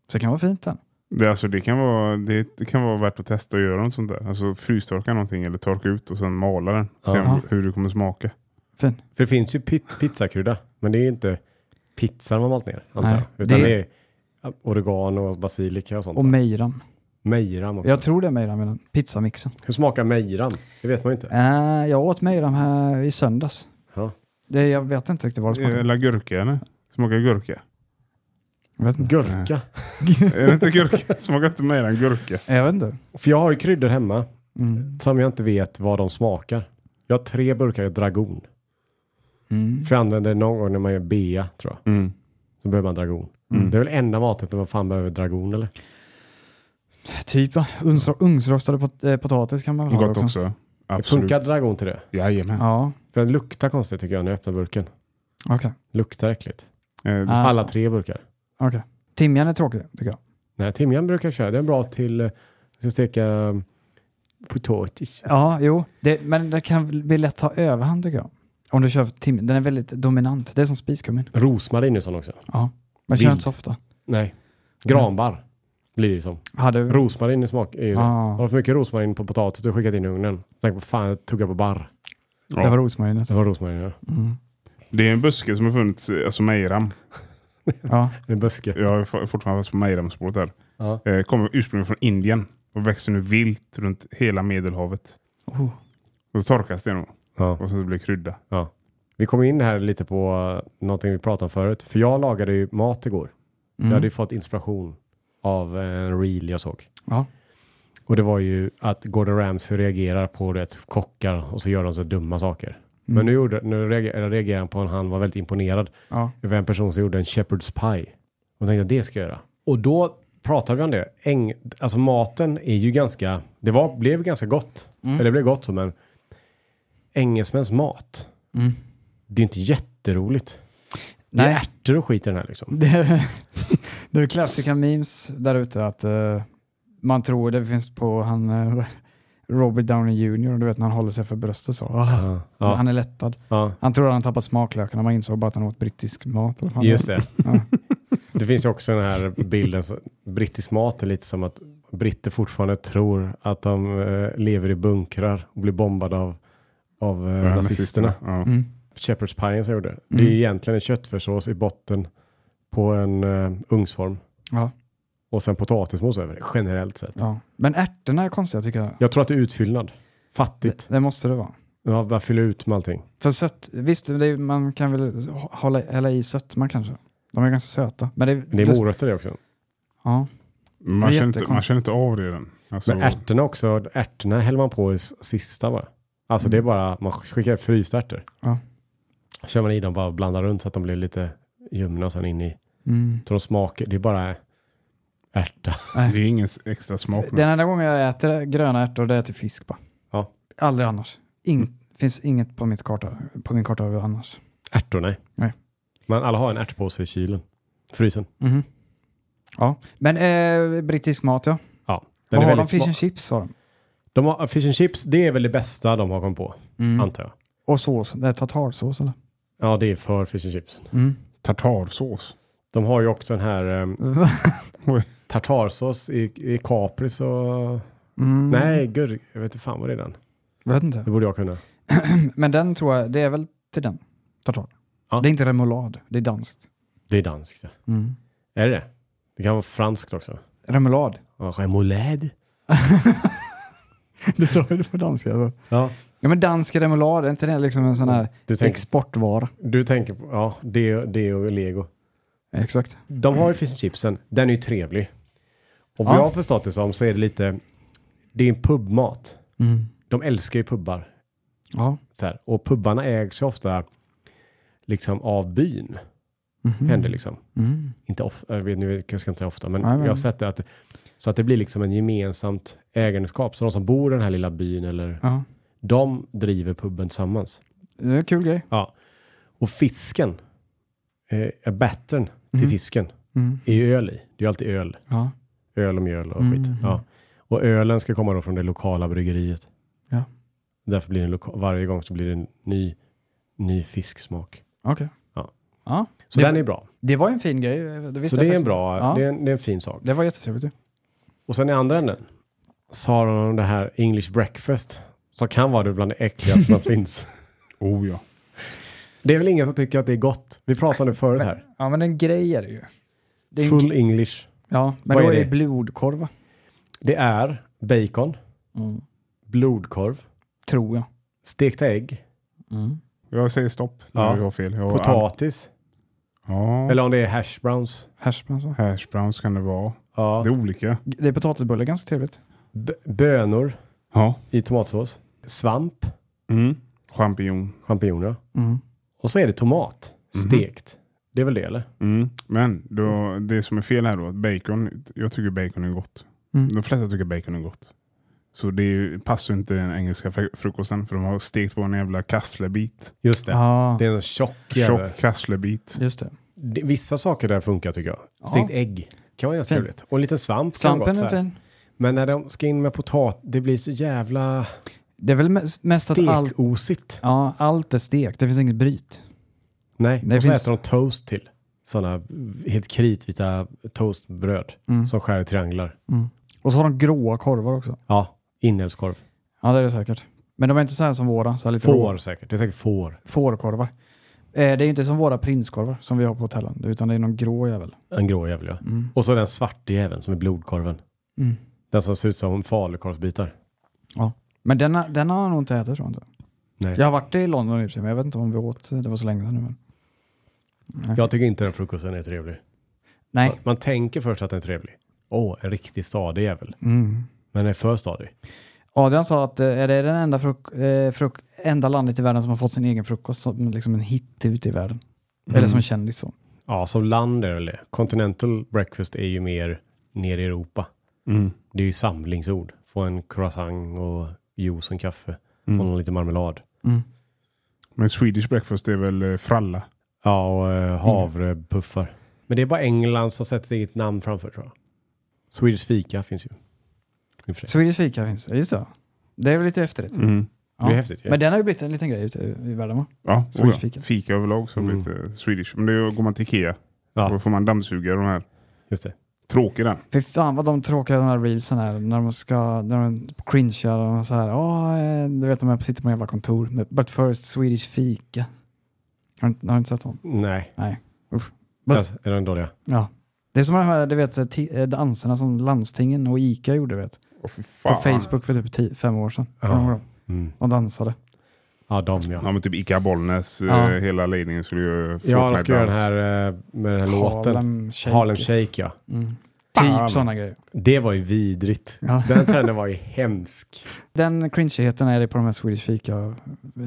[SPEAKER 3] Så det kan vara fint den.
[SPEAKER 1] Det, alltså, det, kan vara, det, det kan vara värt att testa att göra något sånt där. Alltså frystorka någonting eller torka ut och sen mala den. Se
[SPEAKER 3] Ja.
[SPEAKER 1] om- hur det kommer smaka.
[SPEAKER 3] Fin.
[SPEAKER 2] För det finns ju pit- pizzakrydda, men det är inte pizzan man malt ner, antar
[SPEAKER 3] Nej,
[SPEAKER 2] jag. Utan
[SPEAKER 3] det-
[SPEAKER 2] det... är ja, oregano och basilika och sånt.
[SPEAKER 3] Och
[SPEAKER 2] där.
[SPEAKER 3] mejram.
[SPEAKER 2] mejram också.
[SPEAKER 3] Jag tror det är mejram med den. Pizzamixen.
[SPEAKER 2] Hur smakar mejram? Det vet man ju inte.
[SPEAKER 3] Äh, jag åt mejram här i söndags.
[SPEAKER 2] Ja.
[SPEAKER 3] Det, jag vet inte riktigt vad det smakar.
[SPEAKER 1] Eh, Eller gurka eller? Smakar gurka?
[SPEAKER 3] Jag vet inte.
[SPEAKER 2] Gurka.
[SPEAKER 1] är det inte gurka? Smakar inte mer än gurka?
[SPEAKER 3] Jag vet inte.
[SPEAKER 2] För jag har ju kryddor hemma
[SPEAKER 3] Mm.
[SPEAKER 2] som jag inte vet vad de smakar. Jag har tre burkar dragon.
[SPEAKER 3] Mm.
[SPEAKER 2] För jag använder det någon gång när man gör bea, tror jag.
[SPEAKER 1] Mm.
[SPEAKER 2] Så behöver man dragon.
[SPEAKER 1] Mm.
[SPEAKER 2] Det är väl enda matet när man fan behöver dragon, eller?
[SPEAKER 3] Typ va? Ugnsro- Ugnsrostade pot- eh, potatis kan man väl ha
[SPEAKER 1] Mm. Gott också. Absolut.
[SPEAKER 2] Funkar dragon till det?
[SPEAKER 1] Jajamän.
[SPEAKER 3] Ja,
[SPEAKER 2] För den luktar konstigt tycker jag när jag öppnar burken.
[SPEAKER 3] okej.
[SPEAKER 2] Luktar äckligt.
[SPEAKER 1] Eh, det-
[SPEAKER 3] Ah.
[SPEAKER 2] Alla tre burkar.
[SPEAKER 3] okej. Timjan är tråkig tycker jag.
[SPEAKER 2] Nej, timjan brukar jag köra. Det är bra till eh, att steka eh, potatis.
[SPEAKER 3] Ja, jo. Det, men det kan väl- bli lätt ta överhand tycker jag. Om du kör timjan. Den är väldigt dominant. Det är som spiskummin.
[SPEAKER 2] Rosmarin är sån också.
[SPEAKER 3] Ja. Man kör
[SPEAKER 2] Vild.
[SPEAKER 3] inte så ofta.
[SPEAKER 2] Nej. Granbar blir det ju som.
[SPEAKER 3] Hade du?
[SPEAKER 2] Rosmarin i smak är ju det. Har
[SPEAKER 3] Ja,
[SPEAKER 2] du för mycket rosmarin på potatis du har skickat in i ugnen? Tänk på fan, jag tuggar på barr.
[SPEAKER 1] Ja.
[SPEAKER 3] det var rosmarinet.
[SPEAKER 2] Det var rosmarin ja.
[SPEAKER 3] Mm.
[SPEAKER 1] Det är en buske som har funnits, eh, alltså mejram.
[SPEAKER 3] Ja,
[SPEAKER 2] En buske.
[SPEAKER 1] Jag är for- fortfarande fast på mejramspåret här.
[SPEAKER 2] Ja.
[SPEAKER 1] Eh, kommer ursprungligen från Indien och växer nu vilt runt hela Medelhavet.
[SPEAKER 3] Oh.
[SPEAKER 1] Och så torkas det nog
[SPEAKER 2] Ja.
[SPEAKER 1] och så blir det krydda.
[SPEAKER 2] Vi kom in här lite på eh, någonting vi pratade om förut. För jag lagade ju mat igår. Jag hade ju fått inspiration av eh, en reel jag såg.
[SPEAKER 3] Ja.
[SPEAKER 2] Och det var ju att Gordon Ramsay reagerar på rätt kockar och så gör de så dumma saker. Men nu, gjorde, nu reagerade, reagerade han på en han var väldigt imponerad
[SPEAKER 3] ja.
[SPEAKER 2] över en person som gjorde en shepherd's pie. Och tänkte att det ska jag göra. Och då pratade vi om det. Äng, alltså maten är ju ganska, det var, blev ganska gott. Eller det blev gott så men engelsmäns mat,
[SPEAKER 3] Mm.
[SPEAKER 2] det är inte jätteroligt. Det är
[SPEAKER 3] Nej,
[SPEAKER 2] ärtor och skit i den här liksom.
[SPEAKER 3] [LAUGHS] det är, det är klassiska memes där ute att eh, man tror det finns på han eh, Robert Downey Jr. Du vet när han håller sig för bröstet så. Ah,
[SPEAKER 2] Ja, ja,
[SPEAKER 3] Han är lättad.
[SPEAKER 2] ja.
[SPEAKER 3] Han tror att han tappat smaklökarna, man insåg bara att han åt brittisk mat. eller vad fan
[SPEAKER 2] Just det.
[SPEAKER 3] Ja.
[SPEAKER 2] [LAUGHS] Det finns ju också den här bilden, så- brittisk mat är lite som att britter fortfarande tror att de eh, lever i bunkrar och blir bombade av, av eh,
[SPEAKER 1] Ja,
[SPEAKER 2] nazisterna.
[SPEAKER 1] Ja.
[SPEAKER 3] Mm.
[SPEAKER 2] Shepherd's pie som jag gjorde. Det är ju egentligen en köttfärssås i botten på en eh, ugnsform.
[SPEAKER 3] Ja.
[SPEAKER 2] Och sen potatismos över det, generellt sett.
[SPEAKER 3] Ja. Men ärtorna är konstiga tycker jag.
[SPEAKER 2] Jag tror att det är utfyllnad. Fattigt.
[SPEAKER 3] Det måste det vara.
[SPEAKER 2] Ja, bara fylla ut med allting.
[SPEAKER 3] För sött, visst, det är, man kan väl hålla, hälla i sötman kanske. De är ganska söta. Men det,
[SPEAKER 2] Det är morötter det också.
[SPEAKER 3] Ja. Det
[SPEAKER 1] Man
[SPEAKER 3] är
[SPEAKER 1] känner, inte, man
[SPEAKER 3] jättekonstigt.
[SPEAKER 1] känner inte av det än. Alltså,
[SPEAKER 2] Men ärtorna också, ärtorna häller man på i s- sista bara. Alltså det är bara, man skickar frysta ärtor.
[SPEAKER 3] Mm. Ja.
[SPEAKER 2] Kör man i dem bara och blandar runt så att de blir lite ljumna och sen in i.
[SPEAKER 3] Mm.
[SPEAKER 2] Så de smakar, det är bara ärta. [LAUGHS]
[SPEAKER 1] det är ingen s- extra smak. med.
[SPEAKER 3] Den enda gången jag äter gröna ärtor det är till fisk bara.
[SPEAKER 2] Ja.
[SPEAKER 3] Aldrig annars. Ing- finns inget på, mitt karta, på min karta över annars.
[SPEAKER 2] Ärtor nej.
[SPEAKER 3] Nej.
[SPEAKER 2] Men alla har en ärtpåse i kylen. Frysen.
[SPEAKER 3] Mhm. Ja, men eh, brittisk mat ja.
[SPEAKER 2] Ja.
[SPEAKER 3] Vad har de?
[SPEAKER 2] väldigt
[SPEAKER 3] Fish
[SPEAKER 2] sma-
[SPEAKER 3] and chips har de.
[SPEAKER 2] de har, fish and chips, det är väl det bästa de har kommit på, antar jag.
[SPEAKER 3] Mm. Och sås, det är tartarsås eller?
[SPEAKER 2] Ja, det är för fish and chips.
[SPEAKER 1] Tartarsås.
[SPEAKER 2] De har ju också den här ehm,
[SPEAKER 1] Oj.
[SPEAKER 2] [LAUGHS] tartarsås i, i kapris och... Nej, gurk. Jag vet inte fan vad det är den.
[SPEAKER 3] Vet inte.
[SPEAKER 2] Det borde jag kunna.
[SPEAKER 3] Men den tror jag, det är väl till den. Tartar.
[SPEAKER 2] Ja.
[SPEAKER 3] Det är inte remoulad, det är danskt.
[SPEAKER 2] Det är danskt. Ja. Är det det? Det kan vara franskt också.
[SPEAKER 3] Remoulad.
[SPEAKER 2] [LAUGHS] Ja, Remoulade.
[SPEAKER 3] Du sa ju det på danska. Alltså.
[SPEAKER 2] Ja.
[SPEAKER 3] Ja men dansk remoulad, är inte det liksom en sån här
[SPEAKER 2] Du tänker-
[SPEAKER 3] exportvara?
[SPEAKER 2] Du tänker på, ja, det, det och lego.
[SPEAKER 3] Exakt.
[SPEAKER 2] De har ju fish and chipsen. Den är ju trevlig. Och vad
[SPEAKER 3] Ja.
[SPEAKER 2] jag har förstått det som så är det lite, det är en pubmat. De älskar ju pubbar.
[SPEAKER 3] Ja.
[SPEAKER 2] Så här. Och pubbarna ägs ju ofta liksom av byn.
[SPEAKER 3] Mhm.
[SPEAKER 2] Händer liksom. Inte ofta, jag, vet, nu vet- jag ska inte säga ofta, men
[SPEAKER 3] Nej, men-
[SPEAKER 2] jag har sett det att så att det blir liksom en gemensamt ägandeskap. Så de som bor i den här lilla byn eller
[SPEAKER 3] ja.
[SPEAKER 2] de driver puben tillsammans.
[SPEAKER 3] Det är en kul grej.
[SPEAKER 2] Ja. Och fisken, eh, battern till fisken, är ju öl i. Det är ju alltid öl.
[SPEAKER 3] Mhm. Mm. Ja. Mm,
[SPEAKER 2] Öl och mjöl och skit. Ja. Och ölen ska komma då från det lokala bryggeriet.
[SPEAKER 3] Ja.
[SPEAKER 2] Därför blir det loka- varje gång så blir det en ny, ny fisksmak.
[SPEAKER 3] Okej.
[SPEAKER 2] Ja.
[SPEAKER 3] Ja.
[SPEAKER 2] Så
[SPEAKER 3] det,
[SPEAKER 2] den är bra.
[SPEAKER 3] det var ju en fin grej. eh, Det
[SPEAKER 2] Så
[SPEAKER 3] visste
[SPEAKER 2] det är,
[SPEAKER 3] jag
[SPEAKER 2] en
[SPEAKER 3] faktiskt.
[SPEAKER 2] bra
[SPEAKER 3] Ja.
[SPEAKER 2] det, är en, det är en fin sak.
[SPEAKER 3] Det var jättetrevligt ju.
[SPEAKER 2] Och sen i andra änden så har de det här English breakfast som kan vara det bland det äckligaste [LAUGHS] som finns.
[SPEAKER 1] Oh ja.
[SPEAKER 2] Det är väl ingen som tycker att det är gott. Vi pratade förut här.
[SPEAKER 3] Ja men en grej är det ju. Det är en
[SPEAKER 2] Full English.
[SPEAKER 3] Ja, men
[SPEAKER 2] Vad
[SPEAKER 3] då
[SPEAKER 2] är
[SPEAKER 3] är det
[SPEAKER 2] det?
[SPEAKER 3] blodkorv va?
[SPEAKER 2] Det är bacon, Mm. blodkorv,
[SPEAKER 3] tror jag.
[SPEAKER 2] stekta ägg,
[SPEAKER 1] Jag säger stopp när
[SPEAKER 2] Ja.
[SPEAKER 1] jag har fel. Jag har all-
[SPEAKER 2] potatis,
[SPEAKER 1] Ja.
[SPEAKER 2] eller om det är hash browns.
[SPEAKER 3] Hash va?
[SPEAKER 1] Hash browns kan det vara.
[SPEAKER 2] Ja.
[SPEAKER 1] Det är olika.
[SPEAKER 3] Det är potatisbullar, ganska trevligt.
[SPEAKER 2] B- bönor
[SPEAKER 1] Ja.
[SPEAKER 2] i tomatsås, svamp,
[SPEAKER 1] Mm. Champinjon.
[SPEAKER 2] champinjoner och så är det tomat, stekt. Det är väl det eller?
[SPEAKER 1] Mm. Men då, det som är fel här då, att bacon, jag tycker bacon är gott. De flesta tycker bacon är gott. Så det är ju, passar ju inte den engelska fr- frukosten för de har stekt på en jävla kasslebit.
[SPEAKER 2] Just det.
[SPEAKER 3] Ja,
[SPEAKER 2] Det är en tjock jävel.
[SPEAKER 1] Tjock kasslebit.
[SPEAKER 3] just det.
[SPEAKER 2] Det- Vissa saker där funkar tycker jag. Stekt ägg kan vara ganska
[SPEAKER 3] Fint.
[SPEAKER 2] trevligt. Och en liten svamp kan vara
[SPEAKER 3] Svampen
[SPEAKER 2] gott. Så här.
[SPEAKER 3] är fin.
[SPEAKER 2] Men när de ska in med potat, det blir så jävla
[SPEAKER 3] Det är väl mest, mest att allt,
[SPEAKER 2] stekosigt.
[SPEAKER 3] ja, allt är stekt, det finns inget bryt.
[SPEAKER 2] Nej,
[SPEAKER 3] Det
[SPEAKER 2] och så
[SPEAKER 3] finns-
[SPEAKER 2] äter de toast till. Sådana helt kritvita toastbröd
[SPEAKER 3] Mm.
[SPEAKER 2] som skär i trianglar.
[SPEAKER 3] Och så har de gråa korvar också.
[SPEAKER 2] Ja, inälvskorv.
[SPEAKER 3] Ja, det är det säkert. Men de är inte så här som våra. Så här lite
[SPEAKER 2] Får
[SPEAKER 3] rå-
[SPEAKER 2] säkert. Det är säkert får.
[SPEAKER 3] Fårkorvar. Eh, det är inte som våra prinskorvar som vi har på hotellen, utan det är någon grå jävel.
[SPEAKER 2] En grå jävel ja. Och så den svarta jäveln som är blodkorven.
[SPEAKER 3] Mm.
[SPEAKER 2] Den som ser ut som falukorvsbitar.
[SPEAKER 3] Ja. Men den, har- den har jag nog inte ätit tror jag inte.
[SPEAKER 2] Nej.
[SPEAKER 3] Jag har varit i London i och för sig, men jag vet inte om vi åt, det var så länge sedan nu. Men.
[SPEAKER 2] Jag tycker inte den frukosten är trevlig.
[SPEAKER 3] Nej.
[SPEAKER 2] Man, man tänker först att den är trevlig. Åh, en riktig stadig jävel.
[SPEAKER 3] Mm.
[SPEAKER 2] Men den är för stadig.
[SPEAKER 3] Adrian sa att eh, är det den enda, fruk- eh, fruk- enda landet i världen som har fått sin egen frukost som liksom en hit ute i världen. Eller som en kändis så.
[SPEAKER 2] Ja, som land är det väl det. Continental breakfast är ju mer ner i Europa.
[SPEAKER 3] Mm.
[SPEAKER 2] Det är ju samlingsord. Få en croissant och juice och en kaffe.
[SPEAKER 3] Mm.
[SPEAKER 2] Och någon lite marmelad.
[SPEAKER 1] Men Swedish breakfast är väl eh, fralla.
[SPEAKER 2] Ja, och eh,
[SPEAKER 3] Mm.
[SPEAKER 2] havrepuffar. Men det är bara England som sätter sitt eget namn framför tror jag. Swedish fika finns ju. I och för sig.
[SPEAKER 3] Swedish fika finns det, just det. Det är väl lite efterrätt. Ja.
[SPEAKER 2] Det är häftigt ju.
[SPEAKER 3] Men den har ju blivit en liten grej ute i världen va?
[SPEAKER 1] Ja,
[SPEAKER 3] Swedish
[SPEAKER 1] oja.
[SPEAKER 3] fika.
[SPEAKER 1] fika överlag så har det blivit eh, Swedish. Men då går man till Ikea.
[SPEAKER 2] Ja.
[SPEAKER 1] Då får man dammsuga de här.
[SPEAKER 2] Just det.
[SPEAKER 1] Tråkig den.
[SPEAKER 3] Fy fan vad de tråkiga de här reelsen är när de ska, när de cringear och så här. "Åh, eh, du vet de här sitter på en jävla kontor. med- But first Swedish fika. Har du, inte- har du inte sett dem?
[SPEAKER 2] Nej.
[SPEAKER 3] Nej. Usch. But,
[SPEAKER 2] Alltså, är den dåliga?
[SPEAKER 3] ja. Det är som de här du vet, ti- eh, danserna som landstingen och ICA gjorde vet.
[SPEAKER 1] Åh, fy
[SPEAKER 3] på
[SPEAKER 1] fan.
[SPEAKER 3] Facebook för typ tio, fem år sedan. Kommer du ihåg?
[SPEAKER 2] Mm.
[SPEAKER 3] De dansade.
[SPEAKER 2] Ja, de ja.
[SPEAKER 1] Ja men typ Ica Bollnäs, eh,
[SPEAKER 3] Ja.
[SPEAKER 1] hela ledningen skulle ju
[SPEAKER 2] Ja, de ska göra den
[SPEAKER 1] Fortnite-dans.
[SPEAKER 2] här eh, med den här låten.
[SPEAKER 3] Harlem Shake.
[SPEAKER 2] Harlem Shake ja.
[SPEAKER 3] Typ sådana grejer.
[SPEAKER 2] Det var ju vidrigt.
[SPEAKER 3] Ja.
[SPEAKER 2] [LAUGHS] Den trenden var ju hemsk.
[SPEAKER 3] Den cringeigheten är det på de här Swedish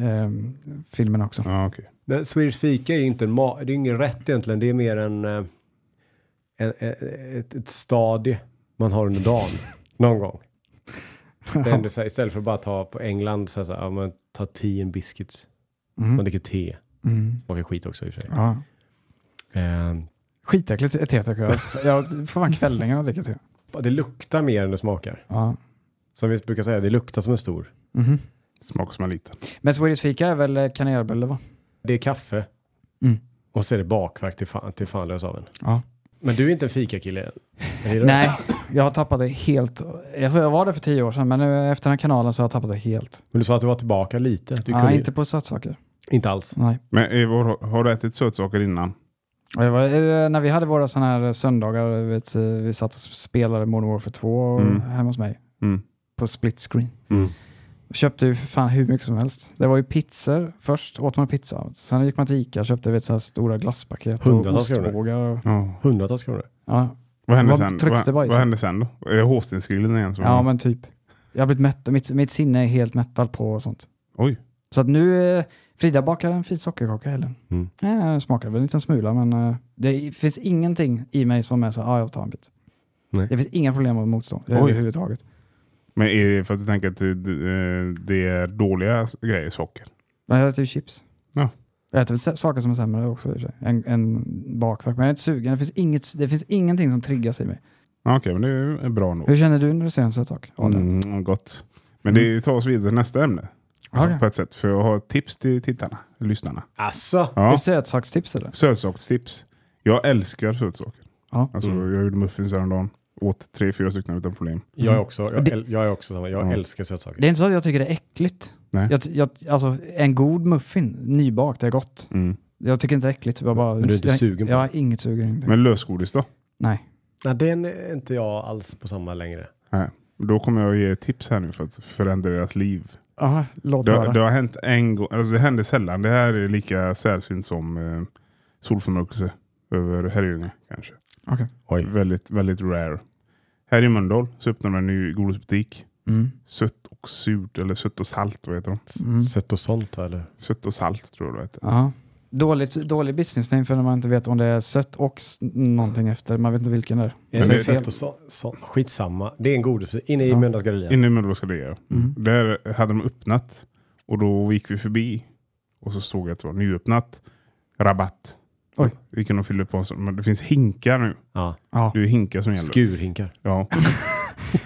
[SPEAKER 3] Fika-filmerna också.
[SPEAKER 1] Ja, okej.
[SPEAKER 2] Men Swedish fika är ju inte en ma- det är ju ingen rätt egentligen. Det är mer en, eh, en, eh, ett, ett stadie man har under
[SPEAKER 3] [LAUGHS]
[SPEAKER 2] dagen. Någon gång. Det är ändå så här, istället för att bara ta på England så är det så här, ja, man tar tea and biscuits.
[SPEAKER 3] Mm.
[SPEAKER 2] Man dricker te. Smakar skit också i och för sig.
[SPEAKER 3] Ja.
[SPEAKER 2] Ehm,
[SPEAKER 3] Skitäckligt te tycker jag. Jag får fan kvällningar när jag dricker te.
[SPEAKER 2] det luktar mer än det smakar.
[SPEAKER 3] Ja.
[SPEAKER 2] Som vi brukar säga, det luktar som en stor.
[SPEAKER 3] Mhm.
[SPEAKER 1] Smakar som en liten.
[SPEAKER 3] Men Swedish Fika är väl eh, kanelbulle va?
[SPEAKER 2] Det är kaffe.
[SPEAKER 3] Mm.
[SPEAKER 2] Och så är det bakverk till fan, till fan lös av en.
[SPEAKER 3] Ja.
[SPEAKER 2] Men du är inte en fikakille? Är du?
[SPEAKER 3] Nej, jag har tappat det helt. Jag jag var det för tio år sedan, men nu efter den här kanalen så har jag tappat det helt.
[SPEAKER 2] Men du sa att du var tillbaka lite? Att du
[SPEAKER 3] Nej,
[SPEAKER 2] kunde...
[SPEAKER 3] inte på sötsaker.
[SPEAKER 2] inte alls?
[SPEAKER 3] Nej.
[SPEAKER 1] Men Eivor, har- har du ätit sötsaker innan?
[SPEAKER 3] Och jag var, eh, när vi hade våra sådana här söndagar, du vet, eh, vi satt och spelade Modern Warfare 2
[SPEAKER 1] Mm.
[SPEAKER 3] hemma hos mig
[SPEAKER 1] Mm.
[SPEAKER 3] på split screen.
[SPEAKER 1] Mm.
[SPEAKER 3] Köpte ju för fan hur mycket som helst. Det var ju pizzor först, åt man pizza. Sen gick man till Ica och köpte vet, så här stora glasspaket och
[SPEAKER 2] Hundratals kronor.
[SPEAKER 3] ostbågar. Och,
[SPEAKER 1] Ja.
[SPEAKER 2] Hundratals kronor?
[SPEAKER 3] ja.
[SPEAKER 1] Vad hände
[SPEAKER 3] Vad
[SPEAKER 1] sen?
[SPEAKER 3] tryckte
[SPEAKER 1] Vad,
[SPEAKER 3] bajsen?
[SPEAKER 1] vad hände sen då? Är det Håstensgrillen igen? Som
[SPEAKER 3] ja, men typ. Jag har blivit mätt, mitt, mitt sinne är helt mättat på sånt.
[SPEAKER 1] Oj.
[SPEAKER 3] Så att nu, eh, Frida bakar en fin sockerkaka i helgen.
[SPEAKER 2] Mm.
[SPEAKER 3] Eh, den smakade väl en liten smula, men eh, det finns ingenting i mig som är så ja ah, jag tar en bit.
[SPEAKER 2] Nej.
[SPEAKER 3] Det finns inga problem med motstånd eh,
[SPEAKER 1] Oj.
[SPEAKER 3] överhuvudtaget.
[SPEAKER 1] Men är det för att du tänker att du- du, eh, det är dåliga grejer, socker?
[SPEAKER 3] Men jag äter ju chips.
[SPEAKER 1] Ja.
[SPEAKER 3] Jag äter väl sä- saker som är sämre också i och för sig, än, än bakverk. Men jag är inte sugen. Det finns, inget, det finns ingenting som triggas i mig.
[SPEAKER 1] Ja, Okej, men det är bra nog.
[SPEAKER 3] Hur känner du när du ser en sötsak? Adrian?
[SPEAKER 1] Mm, gott. Men det tar oss vidare till nästa ämne.
[SPEAKER 3] Mm. Okej.
[SPEAKER 1] På ett sätt. För jag har ett tips till tittarna, lyssnarna.
[SPEAKER 2] Alltså,
[SPEAKER 3] Är
[SPEAKER 1] Ja.
[SPEAKER 3] det sötsakstips eller?
[SPEAKER 1] Sötsakstips. Jag älskar sötsaker.
[SPEAKER 3] Ja. Mm.
[SPEAKER 1] Alltså, Jag gjorde muffins häromdagen. Åt tre, fyra stycken utan problem.
[SPEAKER 2] jag är också, jag,
[SPEAKER 3] Mm. Det-
[SPEAKER 2] äl- jag är också samma. Jag
[SPEAKER 1] Ja.
[SPEAKER 2] älskar sötsaker.
[SPEAKER 3] Det är inte så att jag tycker det är äckligt.
[SPEAKER 1] Nej.
[SPEAKER 3] Jag, jag, alltså, en god muffin, nybakt, är gott.
[SPEAKER 1] Mm.
[SPEAKER 3] Jag tycker inte det är äckligt. Jag bara,
[SPEAKER 2] Men du är inte
[SPEAKER 3] jag,
[SPEAKER 2] sugen på
[SPEAKER 3] Jag
[SPEAKER 2] det?
[SPEAKER 3] har inget sugen. Men,
[SPEAKER 1] Men lösgodis då?
[SPEAKER 3] Nej.
[SPEAKER 2] Nej, den är inte jag alls på samma längre.
[SPEAKER 1] Nej. Då kommer jag ge tips här nu för att förändra deras liv.
[SPEAKER 3] Aha, låt
[SPEAKER 1] Det,
[SPEAKER 3] höra.
[SPEAKER 1] det har hänt en gång, alltså det händer sällan. Det här är lika sällsynt som eh, solförmörkelse över Herrljunga kanske.
[SPEAKER 3] Okej.
[SPEAKER 2] Oj.
[SPEAKER 1] Väldigt, väldigt rare. Här i Mölndal så öppnade de en ny godisbutik.
[SPEAKER 3] Mm.
[SPEAKER 1] Sött och surt, eller sött och salt, vad heter de?
[SPEAKER 3] Mm.
[SPEAKER 2] Sött och sånt va, eller?
[SPEAKER 1] Sött och salt tror jag det heter.
[SPEAKER 3] Aha. Dåligt, dålig business name för när man inte vet om det är sött och s- någonting efter. Man vet inte vilken det är.
[SPEAKER 1] Men
[SPEAKER 2] det
[SPEAKER 1] det
[SPEAKER 2] är
[SPEAKER 1] är
[SPEAKER 2] sött och så, så, skitsamma. Det är en godis. Inne i
[SPEAKER 3] Ja.
[SPEAKER 2] Mölndals galleria.
[SPEAKER 1] Inne i Mölndal ska det göra.
[SPEAKER 3] Mm.
[SPEAKER 1] Där hade de öppnat och då gick vi förbi och så såg jag att det var nyöppnat. Rabatt.
[SPEAKER 3] Oj.
[SPEAKER 1] Vi kunde fylla på en sån, men det finns hinkar nu.
[SPEAKER 2] Ja.
[SPEAKER 3] Ja.
[SPEAKER 1] Det är hinkar som gäller.
[SPEAKER 2] Skurhinkar.
[SPEAKER 1] Ja.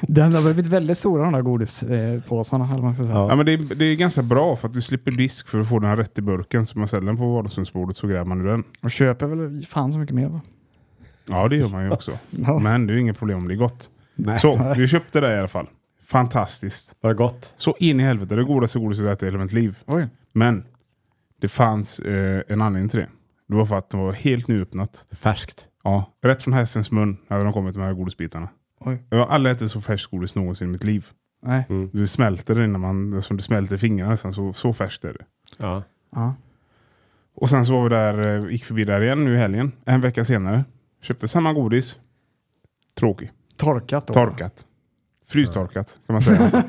[SPEAKER 3] Den har blivit väldigt stora de där godispåsarna. eller vad man ska säga.
[SPEAKER 2] Ja.
[SPEAKER 1] Ja, men det, är, det är ganska bra för att du slipper disk för att få den här rätt i burken. Så man ställer den på vardagsrumsbordet så gräver man ur den.
[SPEAKER 3] Och köper väl fan så mycket mer va?
[SPEAKER 1] Ja, det gör man ju också.
[SPEAKER 3] Ja.
[SPEAKER 1] Men det är ju inget problem om det är gott. Så, vi köpte det i alla fall. Fantastiskt.
[SPEAKER 2] Var det gott?
[SPEAKER 1] Så in i helvete. Det godaste godiset jag ätit i hela mitt liv.
[SPEAKER 3] Oj.
[SPEAKER 1] Men det fanns eh, en anledning till det. Det var för att det var helt nyöppnat.
[SPEAKER 2] Färskt.
[SPEAKER 1] Ja, rätt från hästens mun hade de kommit med de här godisbitarna.
[SPEAKER 3] Oj. Mm.
[SPEAKER 1] Jag har aldrig ätit så färskt godis någonsin i mitt liv.
[SPEAKER 3] Nej.
[SPEAKER 2] Mm.
[SPEAKER 1] Det smälter innan man, som det smälter i fingrarna nästan, så, så färskt är det.
[SPEAKER 2] Ja.
[SPEAKER 3] Ja.
[SPEAKER 1] Och sen så var vi där, eh, gick förbi där igen nu i helgen, en vecka senare. Köpte samma godis. Tråkig.
[SPEAKER 3] Torkat då.
[SPEAKER 1] Torkat. Frystorkat kan man säga. nästan.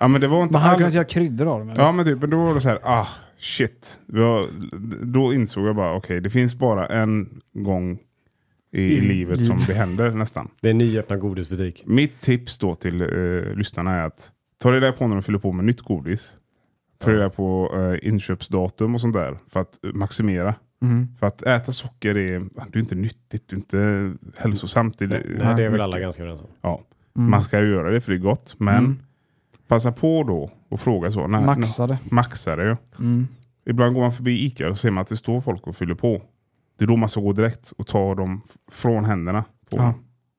[SPEAKER 1] ja men det var inte
[SPEAKER 3] Man hade kunnat
[SPEAKER 1] all...
[SPEAKER 3] göra kryddor av dem. eller?
[SPEAKER 1] Ja men typ, men då var det så här, ah shit. Jag, då insåg jag bara, okej det finns bara en gång i, i livet som det händer nästan.
[SPEAKER 2] Det är en nyöppnad godisbutik.
[SPEAKER 1] Mitt tips då till eh, lyssnarna är att ta reda på när de fyller på med nytt godis. Ta reda på eh, inköpsdatum och sånt där för att eh, maximera.
[SPEAKER 3] Mm.
[SPEAKER 1] För att äta socker är, det är inte nyttigt, det är inte hälsosamt. Det,
[SPEAKER 2] Nej, nej, det är väl alla ganska överens om.
[SPEAKER 1] Ja. Man ska ju göra det för det är gott, men passa på då och fråga så. När,
[SPEAKER 3] Maxa det.
[SPEAKER 1] När, maxa det ju. Ibland går man förbi Ica och ser man att det står folk och fyller på. Det är då man ska gå direkt och ta dem f- från händerna. På
[SPEAKER 3] Ja.
[SPEAKER 1] dem.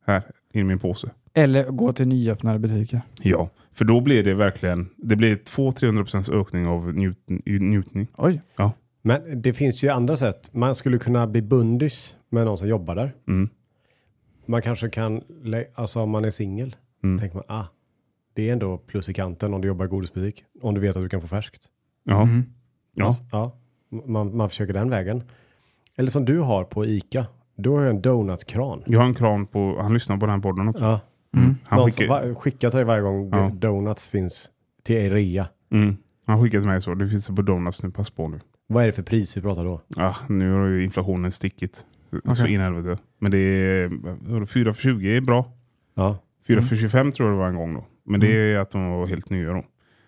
[SPEAKER 1] Här, in i min påse.
[SPEAKER 3] Eller gå till nyöppnade butiker.
[SPEAKER 1] Ja, för då blir det verkligen, det blir 200-300% ökning av njut, njutning.
[SPEAKER 3] Oj.
[SPEAKER 1] Ja.
[SPEAKER 2] Men det finns ju andra sätt. Man skulle kunna bli bundis med någon som jobbar där.
[SPEAKER 1] Mm.
[SPEAKER 2] Man kanske kan, lä- alltså om man är singel,
[SPEAKER 1] Mm.
[SPEAKER 2] tänker man, ah, det är ändå plus i kanten om du jobbar i godisbutik. Om du vet att du kan få färskt. Alltså,
[SPEAKER 1] Ja.
[SPEAKER 2] Mm.
[SPEAKER 1] Ja.
[SPEAKER 2] Ja. Man, man försöker den vägen. Eller som du har på ICA, Då har jag en donutkran.
[SPEAKER 1] Jag har en kran på, han lyssnar på den här podden också. Mm.
[SPEAKER 2] Ja.
[SPEAKER 1] Han,
[SPEAKER 2] Någon som
[SPEAKER 1] skickar,
[SPEAKER 2] va- skickar till dig varje gång
[SPEAKER 1] Ja.
[SPEAKER 2] donuts finns till er rea.
[SPEAKER 1] mm, han skickar till mig så, det finns det på Donuts nu, pass på nu.
[SPEAKER 2] Vad är det för pris vi pratar då?
[SPEAKER 1] Ah, nu har ju inflationen stickit. Så
[SPEAKER 3] Okej.
[SPEAKER 1] in i helvete. Men det är, 4 för 20 är bra.
[SPEAKER 2] Ja.
[SPEAKER 1] 4 för 25 tror jag det var en gång då. Men det
[SPEAKER 2] Mm.
[SPEAKER 1] är att de var helt nya då.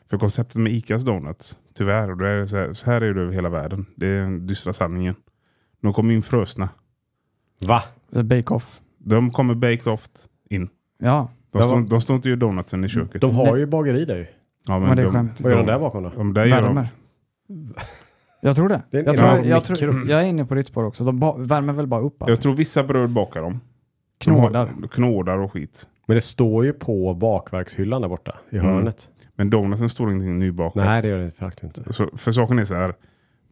[SPEAKER 1] För konceptet med Icas Donuts, tyvärr, och det är så, här, så här är det över hela världen. Det är den dystra sanningen. De kommer in frösna.
[SPEAKER 2] Va?
[SPEAKER 3] Bake-off.
[SPEAKER 1] De kommer baked off in.
[SPEAKER 3] Ja,
[SPEAKER 1] De,
[SPEAKER 2] Men
[SPEAKER 1] står-
[SPEAKER 2] vad-
[SPEAKER 1] de står inte och gör donutsen i köket.
[SPEAKER 2] De har
[SPEAKER 3] Nej.
[SPEAKER 2] ju bageri där ju.
[SPEAKER 1] ja,
[SPEAKER 3] men det är
[SPEAKER 1] de-
[SPEAKER 3] skämt.
[SPEAKER 2] Vad gör de där bakom då?
[SPEAKER 1] De där gör de.
[SPEAKER 3] värmer. Jag tror det.
[SPEAKER 2] Det är en
[SPEAKER 3] Jag, tror,
[SPEAKER 2] enorm
[SPEAKER 3] jag, tror,
[SPEAKER 2] mikro.
[SPEAKER 3] jag är inne på ditt spår också. De ba- värmer väl bara upp?
[SPEAKER 1] Jag
[SPEAKER 3] Alltså.
[SPEAKER 1] tror vissa bröd bakar dem.
[SPEAKER 3] Knådar.
[SPEAKER 1] De har- Knådar och skit.
[SPEAKER 2] Men det står ju på bakverkshyllan där borta i
[SPEAKER 1] Mm.
[SPEAKER 2] hörnet.
[SPEAKER 1] Men donutsen står ingenting nybakat.
[SPEAKER 2] Nej, det gör det faktiskt inte.
[SPEAKER 1] Så, för saken är så här.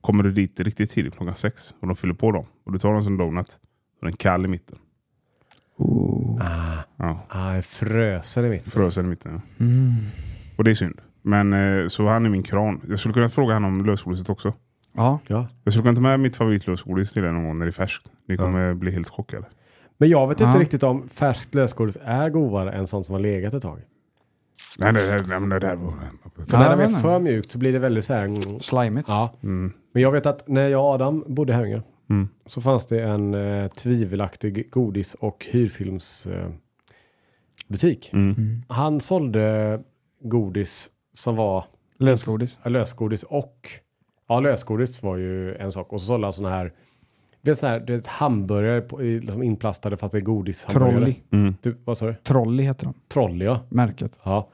[SPEAKER 1] Kommer du dit riktigt tidigt klockan sex och de fyller på dem och du tar dem som donut och den är kall i mitten. Ja,
[SPEAKER 2] Ah, jag fröser i mitt.
[SPEAKER 1] frösen i mitten. Ja.
[SPEAKER 3] Mm.
[SPEAKER 1] Och det är synd. Men eh, så han är min kran. Jag skulle kunna fråga honom om lösgodiset också.
[SPEAKER 3] Ja.
[SPEAKER 2] Ja.
[SPEAKER 1] Jag skulle kunna ta med mitt favoritlösgodis till er någon gång när det är färskt. Ni kommer bli helt chockade.
[SPEAKER 2] Men jag vet
[SPEAKER 3] Ja.
[SPEAKER 2] inte riktigt om färskt lösgodis är godare än sånt som har legat ett tag.
[SPEAKER 1] Nej, det, det, nej, men det där var...
[SPEAKER 2] För
[SPEAKER 3] Ja,
[SPEAKER 2] när det
[SPEAKER 3] jag
[SPEAKER 2] är
[SPEAKER 3] menar.
[SPEAKER 2] för mjukt så blir det väldigt så här... mm,
[SPEAKER 3] Slimigt.
[SPEAKER 2] Ja. Mm. Men jag vet att när jag och Adam bodde i Herrljunga så fanns det en eh, tvivelaktig godis och hyrfilmsbutik. Eh, butik. Han sålde godis som var
[SPEAKER 3] Lösgodis.
[SPEAKER 2] Ja, lösgodis och... Ja, lösgodis var ju en sak. Och så sålde han såna här... Det är så här, det är ett hamburgare på, i- liksom inplastade fast det är godishamburgare.
[SPEAKER 3] Trolli.
[SPEAKER 2] Typ, vad sa du?
[SPEAKER 3] Trolli heter de.
[SPEAKER 2] Trolley, ja.
[SPEAKER 3] Märket.
[SPEAKER 2] Ja.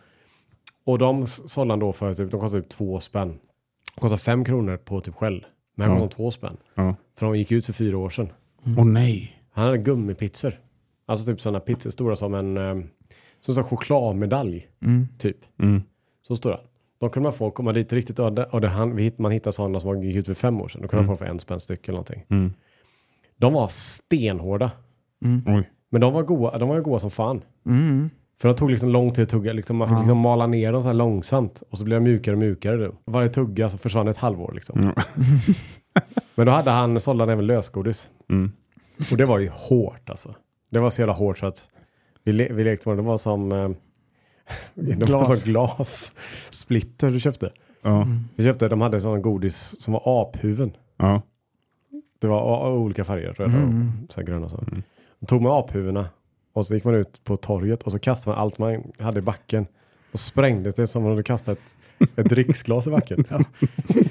[SPEAKER 2] Och de s- sålde han då för typ, de kostade typ två spänn. De kostade fem kronor på typ Shell. Men han
[SPEAKER 1] Ja.
[SPEAKER 2] kostade två spänn.
[SPEAKER 1] Ja.
[SPEAKER 2] För de gick ut för fyra år sedan.
[SPEAKER 1] Åh nej!
[SPEAKER 2] Han hade gummipizzor. Alltså typ sådana pizzor stora som en eh, som en chokladmedalj. Typ.
[SPEAKER 1] Mm.
[SPEAKER 2] Så stora. De kunde man få komma dit riktigt öde. Och det han, vi hitt- man hittade sådana som gick ut för fem år sedan. Då kunde man få dem för en spänn styck eller någonting.
[SPEAKER 1] Mm.
[SPEAKER 2] De var stenhårda.
[SPEAKER 1] Oj.
[SPEAKER 2] Men de var goa, de var ju goa som fan.
[SPEAKER 3] Mm.
[SPEAKER 2] För de tog liksom lång tid att tugga, liksom, man fick liksom mala ner dem så här långsamt och så blev de mjukare och mjukare. Då. Varje tugga så försvann ett halvår liksom.
[SPEAKER 1] Mm.
[SPEAKER 2] [LAUGHS] Men då hade han, sålde han även lösgodis.
[SPEAKER 1] Mm.
[SPEAKER 2] Och det var ju hårt alltså. Det var så jävla hårt så att vi, le- vi lekte med det, det var som eh, [LAUGHS] det var
[SPEAKER 3] Glas.
[SPEAKER 2] som glas. Splitter du köpte. Mm.
[SPEAKER 1] Ja.
[SPEAKER 2] Vi köpte, de hade sådana godis som var aphuven.
[SPEAKER 1] ja.
[SPEAKER 2] Det var a- olika färger, röda och så här gröna och så. Då tog man aphuvudena och så gick man ut på torget och så kastade man allt man hade i backen. Och sprängdes det som om man hade kastat ett, ett dricksglas i backen. ja.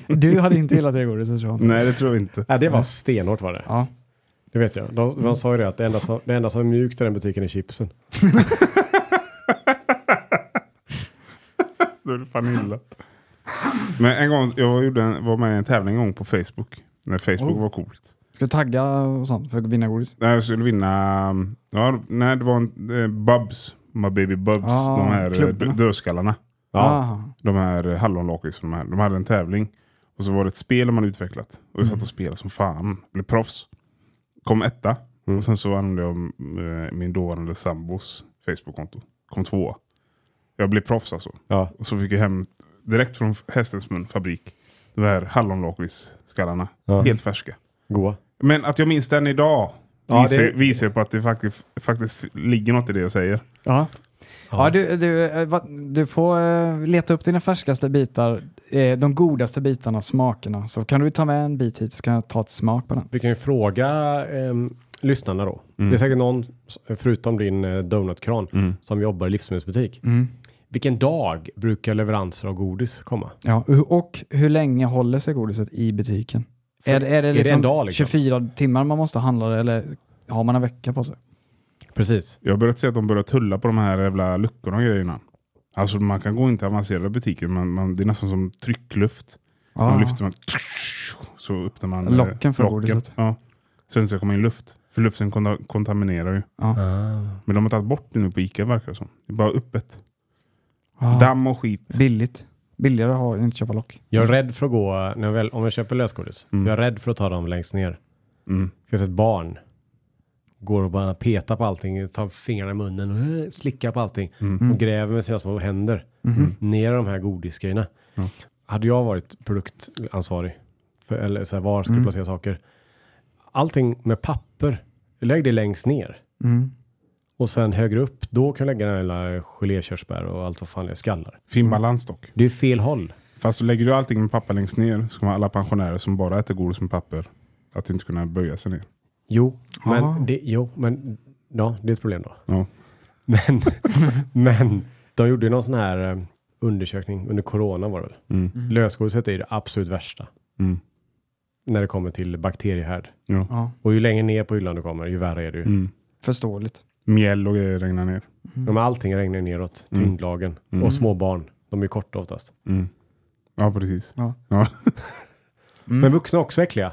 [SPEAKER 3] Du hade inte gillat det godiset tror jag.
[SPEAKER 1] Nej, det tror jag inte.
[SPEAKER 2] Nej, det var stenhårt var det.
[SPEAKER 3] Ja.
[SPEAKER 2] Det vet jag. De, de sa ju det att det enda, som, det enda som är mjukt i den butiken är chipsen.
[SPEAKER 1] Då är det fan illa. Men en gång, jag gjorde en, var med i en tävling en gång på Facebook. När Facebook
[SPEAKER 3] Oh.
[SPEAKER 1] var coolt.
[SPEAKER 3] Ska du tagga och sånt för att vinna godis?
[SPEAKER 1] Där jag skulle vinna, um, ja, nej det var en, eh, Bubs, My Baby Bubs,
[SPEAKER 3] Ah,
[SPEAKER 1] de här eh,
[SPEAKER 3] klubborna.
[SPEAKER 1] dö- dödskallarna.
[SPEAKER 3] Aha.
[SPEAKER 1] De här eh, hallonlakrits, de, här. de hade en tävling. Och så var det ett spel man utvecklat. Och jag
[SPEAKER 2] Mm.
[SPEAKER 1] satt och spelade som fan, blev proffs. Kom etta.
[SPEAKER 2] Mm.
[SPEAKER 1] Och sen så använde jag eh, min dåvarande sambos Facebook-konto. Kom tvåa. Jag blev proffs alltså.
[SPEAKER 2] Ja.
[SPEAKER 1] Och så fick jag hem direkt från hästens mun fabrik. De här hallonlakritsskallarna.
[SPEAKER 2] Ja.
[SPEAKER 1] Helt färska.
[SPEAKER 2] Goa.
[SPEAKER 1] Men att jag minns den idag
[SPEAKER 2] Ja,
[SPEAKER 1] visar,
[SPEAKER 2] det-
[SPEAKER 1] visar ju på att det faktiskt, faktiskt ligger något i det jag säger.
[SPEAKER 3] Ja. Ja, du, du, eh, va- du får eh, leta upp dina färskaste bitar, eh, de godaste bitarna, smakerna. Så kan du ta med en bit hit så kan jag ta ett smak på den.
[SPEAKER 2] Vi kan ju fråga ehm, lyssnarna då. Det är säkert någon, förutom din eh, donutkran, som jobbar i livsmedelsbutik. Vilken dag brukar leveranser av godis komma?
[SPEAKER 3] Ja, och- och hur länge håller sig godiset i butiken?
[SPEAKER 2] För-
[SPEAKER 3] är, är, det liksom
[SPEAKER 2] en dag liksom?
[SPEAKER 3] 24 timmar man måste handla det eller har man en vecka på sig?
[SPEAKER 2] Precis.
[SPEAKER 1] Jag har börjat se att de börjar tulla på de här jävla luckorna och grejerna. Alltså man kan gå in till avancerade butiker, men man, det är nästan som tryckluft. Man lyfter man, så öppnar man eh,
[SPEAKER 3] Ah. Locken för godiset.
[SPEAKER 1] Ja. Sen ska det komma in luft, för luften konta- kontaminerar ju.
[SPEAKER 3] Ah.
[SPEAKER 1] Ah. Men de har tagit bort det nu på Ica verkar det som. Det är bara öppet.
[SPEAKER 3] Ah,
[SPEAKER 1] Damm och skit.
[SPEAKER 3] Billigt. Billigare att ha, inte köpa lock.
[SPEAKER 2] Jag är rädd för att gå, när jag väl, om jag köper lösgodis, jag är rädd för att ta dem längst ner.
[SPEAKER 1] Mm.
[SPEAKER 2] Det finns ett barn. Går och bara petar på allting, tar fingrarna i munnen och eh, slickar på allting. Och gräver med sina små händer ner i de här godisgrejerna. Hade jag varit produktansvarig, för, eller så här, var ska du placera saker? Allting med papper lägg det längst ner.
[SPEAKER 3] Mm.
[SPEAKER 2] Och sen högre upp, då kan du lägga den här lilla gelékörsbär och allt vad fan det är, skallar.
[SPEAKER 1] Fin balans dock.
[SPEAKER 2] Det är fel håll.
[SPEAKER 1] Fast så lägger du allting med papper längst ner så kommer alla pensionärer som bara äter godis med papper att inte kunna böja sig ner.
[SPEAKER 2] Jo,
[SPEAKER 3] Ah.
[SPEAKER 2] men det, jo, men ja, det är ett problem då.
[SPEAKER 1] Ja.
[SPEAKER 2] Men, men de gjorde ju någon sån här eh, undersökning under corona var det väl.
[SPEAKER 3] Mm.
[SPEAKER 2] Lösgodiset är det absolut värsta
[SPEAKER 1] Mm.
[SPEAKER 2] när det kommer till bakteriehärd.
[SPEAKER 1] Ja.
[SPEAKER 3] Ja,
[SPEAKER 2] Och ju längre ner på hyllan du kommer, ju värre är det ju.
[SPEAKER 1] Mm.
[SPEAKER 3] förståeligt.
[SPEAKER 1] Mjäll och grejer regnar ner.
[SPEAKER 2] De här allting regnar ju neråt,
[SPEAKER 1] Mm.
[SPEAKER 2] tyngdlagen.
[SPEAKER 1] Mm.
[SPEAKER 2] Och små barn, de är ju korta oftast.
[SPEAKER 1] Mm. Ja, precis.
[SPEAKER 3] Ja.
[SPEAKER 1] Ja.
[SPEAKER 3] Mm.
[SPEAKER 2] Men vuxna är också äckliga.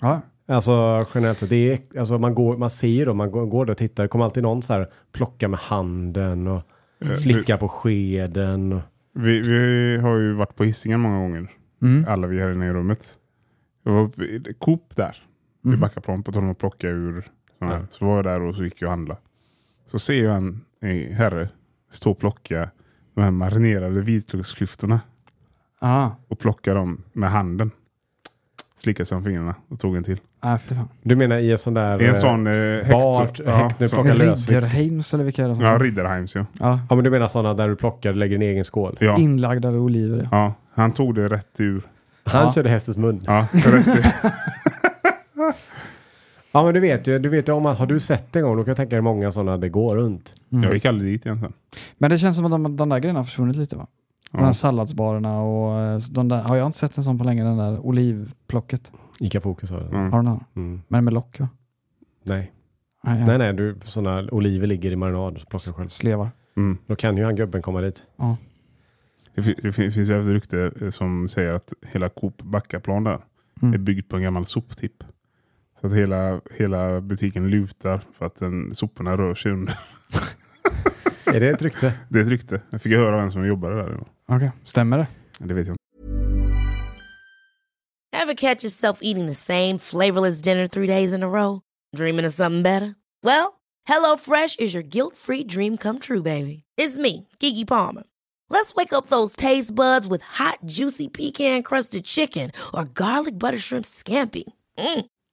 [SPEAKER 3] ja.
[SPEAKER 2] Alltså generellt sett, det är, alltså, man, går, man ser dem, man går, går där och tittar. Det kommer alltid någon så här plocka med handen och
[SPEAKER 3] Eh,
[SPEAKER 2] slicka på skeden. Och,
[SPEAKER 1] Vi, vi har ju varit på Hisingen många gånger,
[SPEAKER 3] Mm.
[SPEAKER 1] alla vi här inne i rummet. Jag var på Coop där, vid Backaplan, på tal om att plocka ur. såna här.
[SPEAKER 2] Mm. Ja.
[SPEAKER 1] Så var jag där och så gick jag och handlade. Så ser jag en eh, herre stå och plocka de här marinerade vitlöksklyftorna
[SPEAKER 3] Ah.
[SPEAKER 1] och plocka dem med handen. Slickade sig om fingrarna och tog en till.
[SPEAKER 3] Ah, fy fan.
[SPEAKER 2] du menar i en sån där...
[SPEAKER 1] Det är
[SPEAKER 2] eh,
[SPEAKER 1] en sån eh,
[SPEAKER 2] Bart,
[SPEAKER 1] Hector. Ja,
[SPEAKER 2] Hector
[SPEAKER 1] så-
[SPEAKER 2] plockar lös.
[SPEAKER 3] Ridderheims eller vilka är det som
[SPEAKER 1] Ja, Ridderheims ja.
[SPEAKER 3] ja.
[SPEAKER 2] Ja men du menar sådana där du plockar och lägger i en egen skål?
[SPEAKER 1] Ja,
[SPEAKER 3] Inlagda oliver. ja.
[SPEAKER 1] ja. Han tog det rätt ur.
[SPEAKER 2] Han
[SPEAKER 3] Ja.
[SPEAKER 2] körde hästens mun.
[SPEAKER 1] Ja, rätt
[SPEAKER 2] [LAUGHS]
[SPEAKER 1] ur.
[SPEAKER 2] Ja men du vet ju, du vet ju om att har du sett en gång då kan jag tänka dig många sådana det går runt.
[SPEAKER 1] Jag gick aldrig dit egentligen.
[SPEAKER 3] Mm. Men det känns som att de, de där grejerna har försvunnit lite va? De här
[SPEAKER 1] Ja.
[SPEAKER 3] salladsbarerna och eh, de där, har jag inte sett en sån på länge, den där olivplocket.
[SPEAKER 2] Ica Fokus har det.
[SPEAKER 1] Mm.
[SPEAKER 3] Har du någon?
[SPEAKER 2] Mm.
[SPEAKER 3] Men med lock va?
[SPEAKER 2] Nej.
[SPEAKER 3] Nej, jag
[SPEAKER 2] nej, nej, du sådana oliver ligger i marinad och plockar själv.
[SPEAKER 3] Slevar.
[SPEAKER 1] Mm.
[SPEAKER 2] Då kan ju han gubben komma dit.
[SPEAKER 1] Det, fi- det fi- finns ju ett rykte eh, som säger att hela Coop Backaplan där
[SPEAKER 3] Mm.
[SPEAKER 1] är byggt på en gammal soptipp. Så att hela, hela butiken lutar för att den, soporna rör sig under. [LAUGHS]
[SPEAKER 2] Är det ett rykte?
[SPEAKER 1] Det är ett rykte. Jag fick höra av en som jobbade där.
[SPEAKER 3] Okej, stämmer det?
[SPEAKER 1] Det vet jag inte.
[SPEAKER 4] Ever catch yourself eating the same flavorless dinner three days in a row? Dreaming of something better? Well, HelloFresh is your guilt free dream come true, baby. It's me, Kiki Palmer. Let's wake up those taste buds with hot, juicy pecan crusted chicken or garlic butter shrimp scampi. Mm.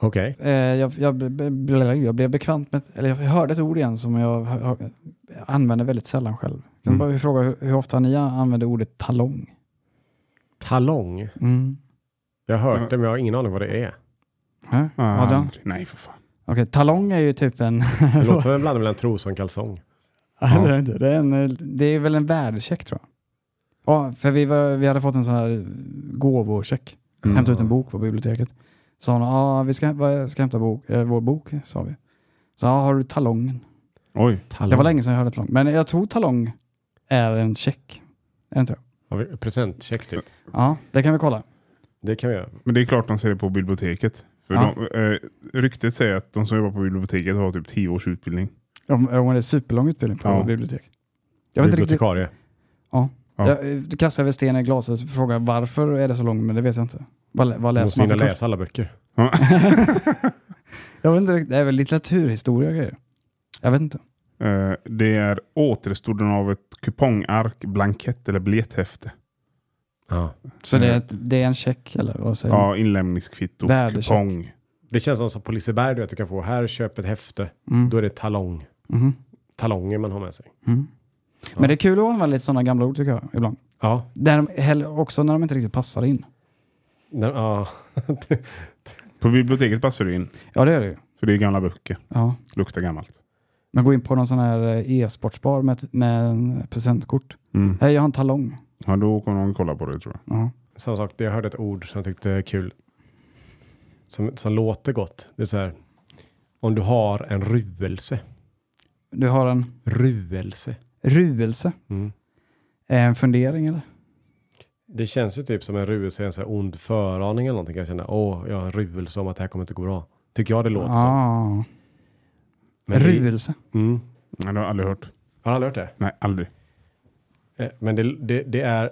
[SPEAKER 2] Okej.
[SPEAKER 3] Eh, jag, jag, be- be- ble- jag blev bekvant med, eller jag hörde ett ord igen som jag hör- hör- använder väldigt sällan själv. Kan
[SPEAKER 1] Mm.
[SPEAKER 3] bara fråga hur, hur ofta ni använder ordet talong?
[SPEAKER 2] Talong.
[SPEAKER 3] Mm.
[SPEAKER 2] Jag har
[SPEAKER 1] Ja.
[SPEAKER 2] hört det men jag har ingen aning vad det är.
[SPEAKER 3] Äh? Adam? Okej,
[SPEAKER 1] aldrig. Nej, för fan.
[SPEAKER 3] talong är ju typ en...
[SPEAKER 2] Det låter
[SPEAKER 3] [LAUGHS]
[SPEAKER 2] som en blandning mellan tros och en kalsong.
[SPEAKER 3] Nej, det är det inte. Det är, en, eh, det är väl en värdecheck tror jag. Ja, för vi, var, vi hade fått en sån här gåvocheck.
[SPEAKER 1] Mm.
[SPEAKER 3] Hämta ut en bok på biblioteket. Sa hon, ja vi ska, vad- ska hämta bok, eh, vår bok, sa vi. Så ja, har du talongen?
[SPEAKER 1] Oj,
[SPEAKER 2] Talong.
[SPEAKER 3] Det var länge sedan jag hörde talong. Men jag tror talong är en check. Är det inte det?
[SPEAKER 2] Har vi- Presentcheck typ.
[SPEAKER 3] Ja, det kan vi kolla.
[SPEAKER 2] Det kan vi göra.
[SPEAKER 1] men det är klart de ser det på biblioteket. För
[SPEAKER 3] Ja.
[SPEAKER 1] de, eh, ryktet säger att de som jobbar på biblioteket har typ 10 års utbildning.
[SPEAKER 3] Om, om det är superlång utbildning på
[SPEAKER 1] Ja.
[SPEAKER 3] bibliotek. Jag vet inte riktigt.
[SPEAKER 2] Bibliotekarie.
[SPEAKER 1] Ja.
[SPEAKER 3] Jag, eh, du kastar över sten i glashus och frågar varför är det så lång, men det vet jag inte. Vad, lä- vad
[SPEAKER 2] Måste
[SPEAKER 3] läser
[SPEAKER 2] hinna
[SPEAKER 3] man för kurs?
[SPEAKER 2] läsa alla böcker.
[SPEAKER 3] Jag vet inte riktigt. Det är väl litteraturhistoria och grejer. Jag vet inte.
[SPEAKER 1] Eh, det är återstoden av ett kupongark, blankett eller biljetthäfte.
[SPEAKER 2] Ja.
[SPEAKER 3] Så det är, ett, det är en check eller vad säger
[SPEAKER 1] Mm. Ja, inlämningskvitto,
[SPEAKER 3] Värdecheck.
[SPEAKER 1] kupong.
[SPEAKER 2] Det känns som, som på Liseberg, du vet, du kan få här, köp ett häfte.
[SPEAKER 3] du? Mm.
[SPEAKER 2] Då är det talong.
[SPEAKER 3] Mhm.
[SPEAKER 2] Talonger man har med sig.
[SPEAKER 3] Mm. Men det är kul att använda lite sådana gamla ord tycker jag ibland.
[SPEAKER 2] Ja.
[SPEAKER 3] Där de, heller- också när de inte riktigt passar in.
[SPEAKER 2] Den, ja.
[SPEAKER 1] På biblioteket passar det in,
[SPEAKER 3] Ja, det är det ju.
[SPEAKER 1] för det är gamla böcker.
[SPEAKER 3] Ja.
[SPEAKER 1] Luktar gammalt.
[SPEAKER 3] Man går in på någon sån här eh, e-sportsbar med, ett- med en presentkort.
[SPEAKER 1] Mm.
[SPEAKER 3] Hej, jag har en talong.
[SPEAKER 1] Ja, då kommer någon kolla på det tror jag.
[SPEAKER 3] Ja.
[SPEAKER 2] Samma sak, jag hörde ett ord som jag tyckte är kul. Som, som låter gott. Det är så här. Om du har en ruelse.
[SPEAKER 3] Du har en
[SPEAKER 2] Ruelse.
[SPEAKER 3] ruelse.
[SPEAKER 2] Mm.
[SPEAKER 3] En fundering eller?
[SPEAKER 2] Det känns ju typ som en ruelse, en så här ond föraning eller någonting. Kan jag känna, åh, jag har en ruelse om att det här kommer inte gå bra. Tycker jag det låter som.
[SPEAKER 3] Ja,
[SPEAKER 2] Men det-
[SPEAKER 3] ruelse.
[SPEAKER 2] Mm.
[SPEAKER 1] Nej, det har jag aldrig hört.
[SPEAKER 2] Har du aldrig hört det?
[SPEAKER 1] Nej, aldrig.
[SPEAKER 2] Eh, Men det, det, det är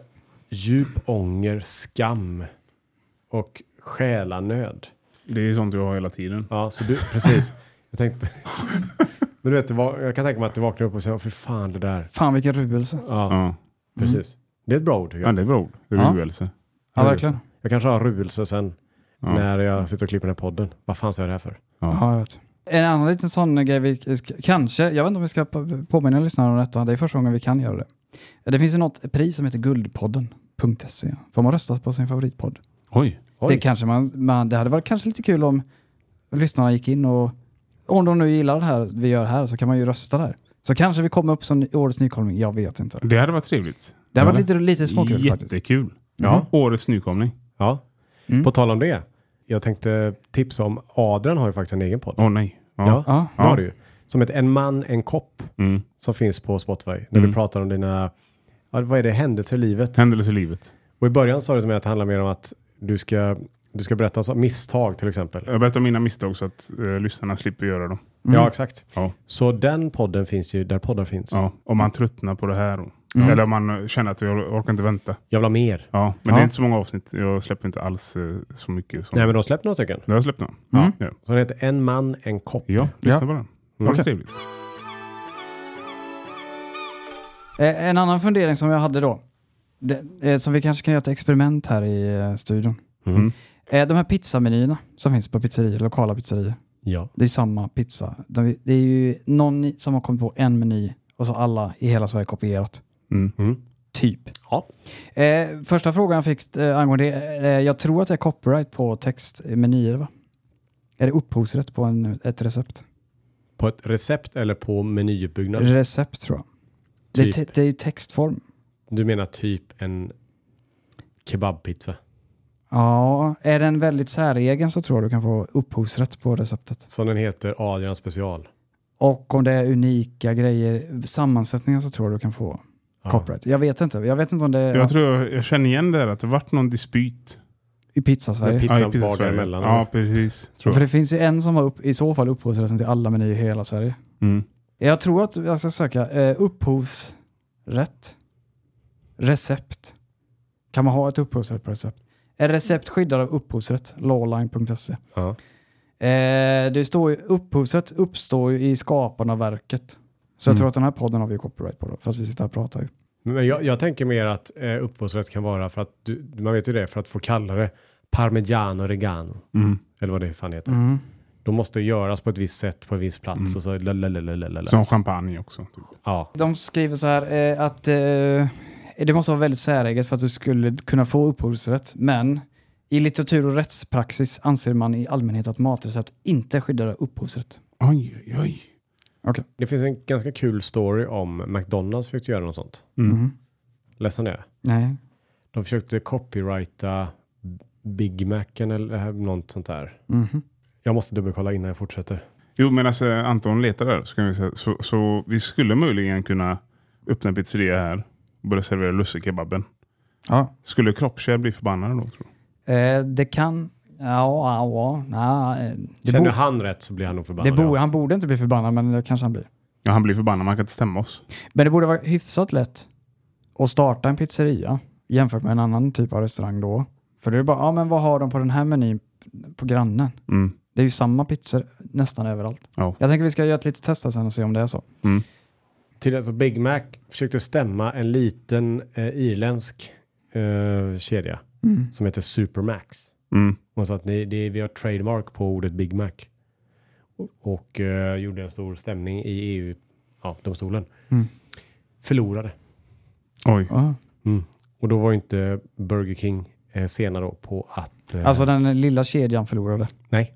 [SPEAKER 2] djup ånger, skam och själanöd.
[SPEAKER 1] Det är sånt jag har hela tiden.
[SPEAKER 2] Ja, så du, precis. Jag tänkte, [LAUGHS] men du vet, det var, jag kan tänka mig att du vaknar upp och säger, "Åh, för fan det där.
[SPEAKER 3] Fan vilken ruelse.
[SPEAKER 2] Ja,
[SPEAKER 1] Ja, Mm.
[SPEAKER 2] precis. Det är ett bra ord tycker
[SPEAKER 1] ja
[SPEAKER 2] jag.
[SPEAKER 1] det är bra ord.
[SPEAKER 3] Ja.
[SPEAKER 1] Ruelse.
[SPEAKER 3] Ja, verkligen.
[SPEAKER 2] Jag kanske har ruelse sen
[SPEAKER 1] Ja.
[SPEAKER 2] när jag sitter och klipper den här podden. Vad fan sa jag det här för?
[SPEAKER 1] Ja.
[SPEAKER 3] Ja, jag vet. En annan liten sån grej vi k- kanske, jag vet inte om vi ska p- påminna lyssnarna om detta, det är första gången vi kan göra det. Det finns ju något pris som heter guldpodden.se. E. Får man rösta på sin favoritpodd?
[SPEAKER 1] Oj.
[SPEAKER 2] Oj.
[SPEAKER 3] Det, kanske man, man, det hade varit kanske lite kul om lyssnarna gick in och om de nu gillar det här vi gör här så kan man ju rösta där. Så kanske vi kommer upp som ny- årets nykomling, jag vet inte.
[SPEAKER 1] Det hade varit trevligt.
[SPEAKER 3] Det har
[SPEAKER 1] Ja.
[SPEAKER 3] varit lite, lite småkul faktiskt.
[SPEAKER 1] Jättekul. Ja. Årets nykomling.
[SPEAKER 2] Ja.
[SPEAKER 3] Mm.
[SPEAKER 2] På tal om det. Jag tänkte tipsa om Adrian har ju faktiskt en egen podd.
[SPEAKER 1] Åh nej. Ja.
[SPEAKER 3] Ja.
[SPEAKER 2] det har du ju. Som heter En man, en kopp.
[SPEAKER 1] Mm.
[SPEAKER 2] Som finns på Spotify. Där du pratar om dina, ja, vad är det, händelser i livet.
[SPEAKER 1] Händelse i livet.
[SPEAKER 2] Och i början sa du till mig att det handlar mer om att du ska, du ska berätta om misstag till exempel.
[SPEAKER 1] Jag berättar om mina misstag så att eh, lyssnarna slipper göra dem.
[SPEAKER 2] Ja, exakt.
[SPEAKER 1] Ja.
[SPEAKER 2] Så den podden finns ju där poddar finns.
[SPEAKER 1] Ja. Om man tröttnar på det här. Och,
[SPEAKER 3] Mm.
[SPEAKER 1] Eller om man eh, känner att jag orkar inte vänta.
[SPEAKER 2] Jag vill ha mer.
[SPEAKER 1] Ja. Men
[SPEAKER 3] Ja.
[SPEAKER 1] det är inte så många avsnitt. Jag släpper inte alls eh, så mycket. Som...
[SPEAKER 2] Nej, men de släppte några stycken.
[SPEAKER 1] Det har jag släppt nu.
[SPEAKER 3] Mm.
[SPEAKER 1] Ja.
[SPEAKER 2] Så den heter En man, en kopp.
[SPEAKER 1] ja, lyssna på den. Det var
[SPEAKER 2] Okej.
[SPEAKER 1] trevligt.
[SPEAKER 3] Eh, En annan fundering som jag hade då, det, eh, som vi kanske kan göra ett experiment här i eh, studion.
[SPEAKER 1] Mm.
[SPEAKER 2] Mhm.
[SPEAKER 3] Eh, De här pizzamenyerna som finns på pizzerior, lokala pizzerior,
[SPEAKER 2] Ja.
[SPEAKER 3] det är samma pizza. De- Det är ju någon i- som har kommit på en meny och så alla i hela Sverige kopierat.
[SPEAKER 1] Mm.
[SPEAKER 3] Typ.
[SPEAKER 2] Ja.
[SPEAKER 3] Eh, första frågan jag fick eh, angående det, eh, jag tror att det är copyright på eh, textmenyer va? Är det upphovsrätt på en, ett recept?
[SPEAKER 2] På ett recept eller på menyuppbyggnad?
[SPEAKER 3] Recept tror jag. Det, är
[SPEAKER 2] Typ.
[SPEAKER 3] te- det är ju textform.
[SPEAKER 2] Du menar typ en kebabpizza?
[SPEAKER 3] Ja, är den väldigt säregen så tror jag du kan få upphovsrätt på receptet.
[SPEAKER 2] Som den heter Adrian special.
[SPEAKER 3] Och om det är unika grejer, sammansättningar så tror jag du kan få copyright. Jag vet inte. Jag vet inte om det är
[SPEAKER 1] Jag tror jag, jag känner igen det där att det varit någon dispyt.
[SPEAKER 3] i
[SPEAKER 2] Med
[SPEAKER 3] pizzasverige.
[SPEAKER 2] Pizzan
[SPEAKER 1] Ja, i
[SPEAKER 2] var
[SPEAKER 1] Sverige.
[SPEAKER 2] däremellan,
[SPEAKER 1] Ja,
[SPEAKER 2] eller?
[SPEAKER 1] precis. Tror
[SPEAKER 3] För
[SPEAKER 1] jag.
[SPEAKER 3] det finns ju en som har upp, i så fall upphovsrätten till alla menyer i hela Sverige.
[SPEAKER 1] Mm.
[SPEAKER 3] Jag tror att jag ska söka eh, upphovsrätt. Recept. Kan man ha ett upphovsrätt på recept? Är recept skyddad av upphovsrätt? Lawline.se.
[SPEAKER 2] Ja.
[SPEAKER 3] Eh, det står ju, upphovsrätt uppstår ju i skaparen av verket. Så jag
[SPEAKER 1] Mm.
[SPEAKER 3] tror att den här podden har vi ju copyright på då, för att vi sitter här och pratar ju.
[SPEAKER 2] Men jag, jag tänker mer att eh, upphovsrätt kan vara för att, du, man vet ju det, för att få kalla det parmigiano regano.
[SPEAKER 1] Mm.
[SPEAKER 2] Eller vad det fan heter.
[SPEAKER 3] Mm.
[SPEAKER 2] De måste göras på ett visst sätt på en viss plats. Och så, lalalala.
[SPEAKER 1] Som champagne också. Typ.
[SPEAKER 2] Ja.
[SPEAKER 3] De skriver så här eh, att eh, det måste vara väldigt säreget för att du skulle kunna få upphovsrätt, men i litteratur och rättspraxis anser man i allmänhet att matrecept inte skyddar upphovsrätt.
[SPEAKER 1] Oj, oj, oj.
[SPEAKER 2] Det finns en ganska kul story om McDonalds försökte göra något sånt.
[SPEAKER 1] Mm.
[SPEAKER 2] Ledsen jag är.
[SPEAKER 3] Nej.
[SPEAKER 2] De försökte copyrighta Big Macen eller eh, något sånt där.
[SPEAKER 3] Mhm.
[SPEAKER 2] Jag måste dubbelkolla innan jag fortsätter.
[SPEAKER 1] Jo, men alltså Anton letar där. Så, kan vi säga. Så, så vi skulle möjligen kunna öppna en pizzeria här och börja servera lussekebaben.
[SPEAKER 3] Ja.
[SPEAKER 1] Skulle kroppskärl bli förbannade då? Tror
[SPEAKER 3] Eh, det kan... Ja, ja, ja. nej, eh, det
[SPEAKER 2] Känner
[SPEAKER 3] bo-
[SPEAKER 2] han rätt så blir han nog
[SPEAKER 3] det
[SPEAKER 2] förbannad.
[SPEAKER 3] bo-
[SPEAKER 2] ja.
[SPEAKER 3] han borde inte bli förbannad, men det kanske han blir.
[SPEAKER 1] jag. Ja, han blir förbannad, man kan inte stämma oss.
[SPEAKER 3] Men det borde vara hyfsat lätt att starta en pizzeria jämfört med en annan typ av restaurang då. För det är bara, ja men vad har de på den här menyn på grannen?
[SPEAKER 1] Mm.
[SPEAKER 3] Det är ju samma pizzor nästan överallt.
[SPEAKER 1] Ja.
[SPEAKER 3] Jag tänker vi ska göra ett litet test här sen och se om det är så.
[SPEAKER 2] Till alltså Big Mac försökte stämma en liten eh, irländsk eh, kedja
[SPEAKER 3] Mm.
[SPEAKER 2] som heter Supermax.
[SPEAKER 1] Mm.
[SPEAKER 2] Hon sa att ni, det, vi har trademark på ordet Big Mac. Och, och eh, gjorde en stor stämning i E EU-domstolen.
[SPEAKER 3] Mm.
[SPEAKER 2] Förlorade.
[SPEAKER 1] Oj.
[SPEAKER 3] Ja.
[SPEAKER 2] Och då var ju inte Burger King eh, sena då på att... eh,
[SPEAKER 3] Alltså den lilla kedjan förlorade.
[SPEAKER 2] Nej,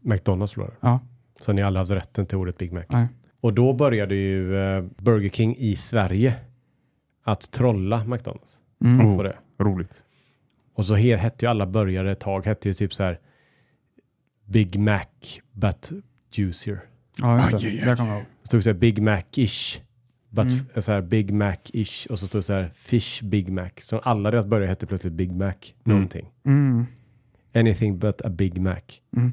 [SPEAKER 2] McDonalds förlorade.
[SPEAKER 3] Ja.
[SPEAKER 2] Så ni har aldrig haft rätten till ordet Big Mac.
[SPEAKER 3] Nej.
[SPEAKER 2] Och då började ju eh, Burger King i Sverige att trolla McDonalds.
[SPEAKER 1] Mm.
[SPEAKER 2] På det.
[SPEAKER 1] Roligt.
[SPEAKER 2] Och så he- hette ju alla burgare ett tag, hette ju typ så här Big Mac but juicier.
[SPEAKER 3] Ja, just det.
[SPEAKER 1] Aj, aj, aj.
[SPEAKER 3] Där kommer jag ihåg.
[SPEAKER 2] Det stod så här Big Mac-ish. But
[SPEAKER 3] Mm.
[SPEAKER 2] f- så här Big Mac-ish och så stod det så här Fish Big Mac. Så alla deras burgare hette plötsligt Big Mac någonting.
[SPEAKER 3] Mm.
[SPEAKER 2] Anything but a Big Mac.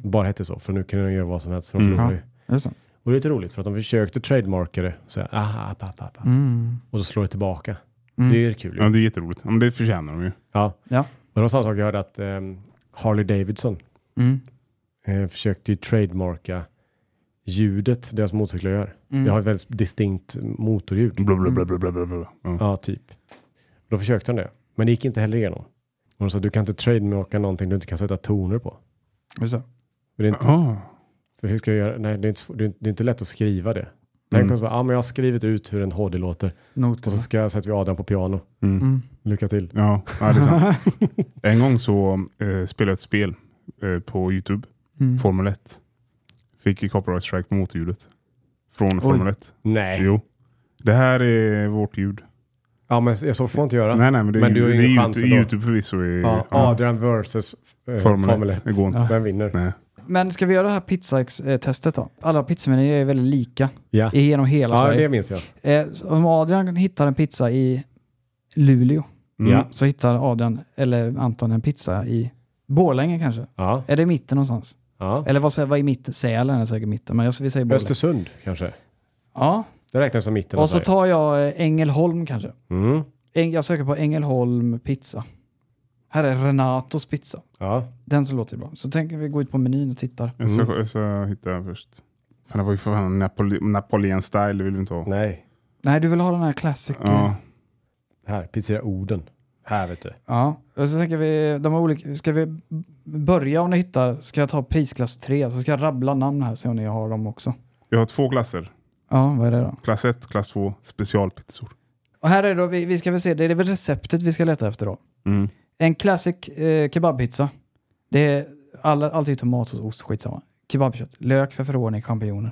[SPEAKER 2] Bara hette så, för nu kan de göra vad som helst för de
[SPEAKER 1] Mm.
[SPEAKER 2] förlorar
[SPEAKER 3] Ja.
[SPEAKER 2] ju.
[SPEAKER 3] Just det.
[SPEAKER 2] Och det är lite roligt för att de försökte trademarka det. Så här, "Ah, aha, app, app, app, app.
[SPEAKER 3] Mm.
[SPEAKER 2] Och så slår det tillbaka.
[SPEAKER 3] Mm.
[SPEAKER 2] Det är ju kul. ju.
[SPEAKER 1] Ja, det är jätteroligt. Ja, Men det förtjänar de ju.
[SPEAKER 2] Ja.
[SPEAKER 3] Ja.
[SPEAKER 2] Och det var samma sak jag hörde att ehm, Harley Davidson
[SPEAKER 3] Mm.
[SPEAKER 2] eh, försökte ju trademarka ljudet deras motorcyklar gör.
[SPEAKER 3] Mm.
[SPEAKER 2] Det har ett väldigt distinkt motorljud.
[SPEAKER 1] Bla, bla, bla, bla, bla, bla, bla. Ja.
[SPEAKER 2] Ja, typ. Då försökte han det, men det gick inte heller igenom. Och de sa, du kan inte trademarka någonting du inte kan sätta toner på.
[SPEAKER 3] Just det.
[SPEAKER 2] För det är inte,
[SPEAKER 1] Ah.
[SPEAKER 2] för hur ska jag göra? Nej, det, är inte, sv- det är inte- det är inte lätt att skriva det. Tänk
[SPEAKER 1] Mm.
[SPEAKER 2] mm. ja, men jag har skrivit ut hur en HD låter
[SPEAKER 3] Noter.
[SPEAKER 2] och så ska jag sätta vi Adam på piano.
[SPEAKER 1] Mm.
[SPEAKER 3] Mm.
[SPEAKER 2] Lycka till.
[SPEAKER 1] Ja, ja, det är sant. en gång så eh, spelade jag ett spel eh, på Youtube,
[SPEAKER 3] Mm.
[SPEAKER 1] Formel 1. Fick ju copyright strike på motorljudet. Från Formel 1.
[SPEAKER 2] Nej.
[SPEAKER 1] Jo. Det här är vårt ljud.
[SPEAKER 2] Ja, men jag så får man inte göra.
[SPEAKER 1] Nej, nej, men det är,
[SPEAKER 2] Men du har
[SPEAKER 1] det
[SPEAKER 2] ju
[SPEAKER 1] är
[SPEAKER 2] ingen
[SPEAKER 1] Youtube,
[SPEAKER 2] chans ändå.
[SPEAKER 1] YouTube förvisso. Är,
[SPEAKER 2] Ja, Adrian versus eh,
[SPEAKER 1] Formel, 1. Det går inte.
[SPEAKER 3] Ja.
[SPEAKER 2] Vem vinner?
[SPEAKER 1] Nej.
[SPEAKER 3] Men ska vi göra det här pizza-testet då? Alla pizzamenyer är väldigt lika
[SPEAKER 2] Ja.
[SPEAKER 3] genom hela
[SPEAKER 2] ja, det
[SPEAKER 3] Sverige.
[SPEAKER 2] minns jag.
[SPEAKER 3] Eh, så om Adrian hittar en pizza i Luleå
[SPEAKER 1] Mm.
[SPEAKER 2] Ja.
[SPEAKER 3] så hittar Adrian, eller Anton, en pizza i Borlänge kanske.
[SPEAKER 2] Ja.
[SPEAKER 3] Är det i mitten någonstans?
[SPEAKER 2] ja.
[SPEAKER 3] Eller vad, sä- vad är mitten? Sälen är säkert mitten, men jag, vi säger Borlänge.
[SPEAKER 2] Östersund kanske.
[SPEAKER 3] Ja,
[SPEAKER 2] Det räknas som mitten av
[SPEAKER 3] och så
[SPEAKER 2] Sverige.
[SPEAKER 3] tar jag eh, Ängelholm kanske.
[SPEAKER 2] Mm.
[SPEAKER 3] Äng- Jag söker på Ängelholm pizza. Här är Renatos pizza.
[SPEAKER 2] Ja.
[SPEAKER 3] Den som låter bra. Så tänker vi gå ut på menyn och tittar.
[SPEAKER 1] Jag ska, jag ska hitta den först. Mm. Fan, det var ju för fan Napole Napoleon style, det vill du inte ha.
[SPEAKER 2] Nej.
[SPEAKER 3] Nej, du vill ha den här classic.
[SPEAKER 1] Ja.
[SPEAKER 2] Här, pizzeria Oden. Här vet du.
[SPEAKER 3] Ja, och så tänker vi, de har olika, ska vi börja om ni hittar, ska jag ta prisklass 3, så ska jag rabbla namn här, se om ni har dem också.
[SPEAKER 1] Jag har två klasser.
[SPEAKER 3] Ja, vad är det då?
[SPEAKER 1] Klass 1, klass 2, specialpizzor.
[SPEAKER 3] Och här är då, vi, vi ska väl se, det är väl receptet vi ska leta efter då.
[SPEAKER 1] Mm.
[SPEAKER 3] En classic eh, kebabpizza. Det är alla, alltid tomatsås, ost, skitsamma. Kebabkött, lök, feferoni, champinjoner.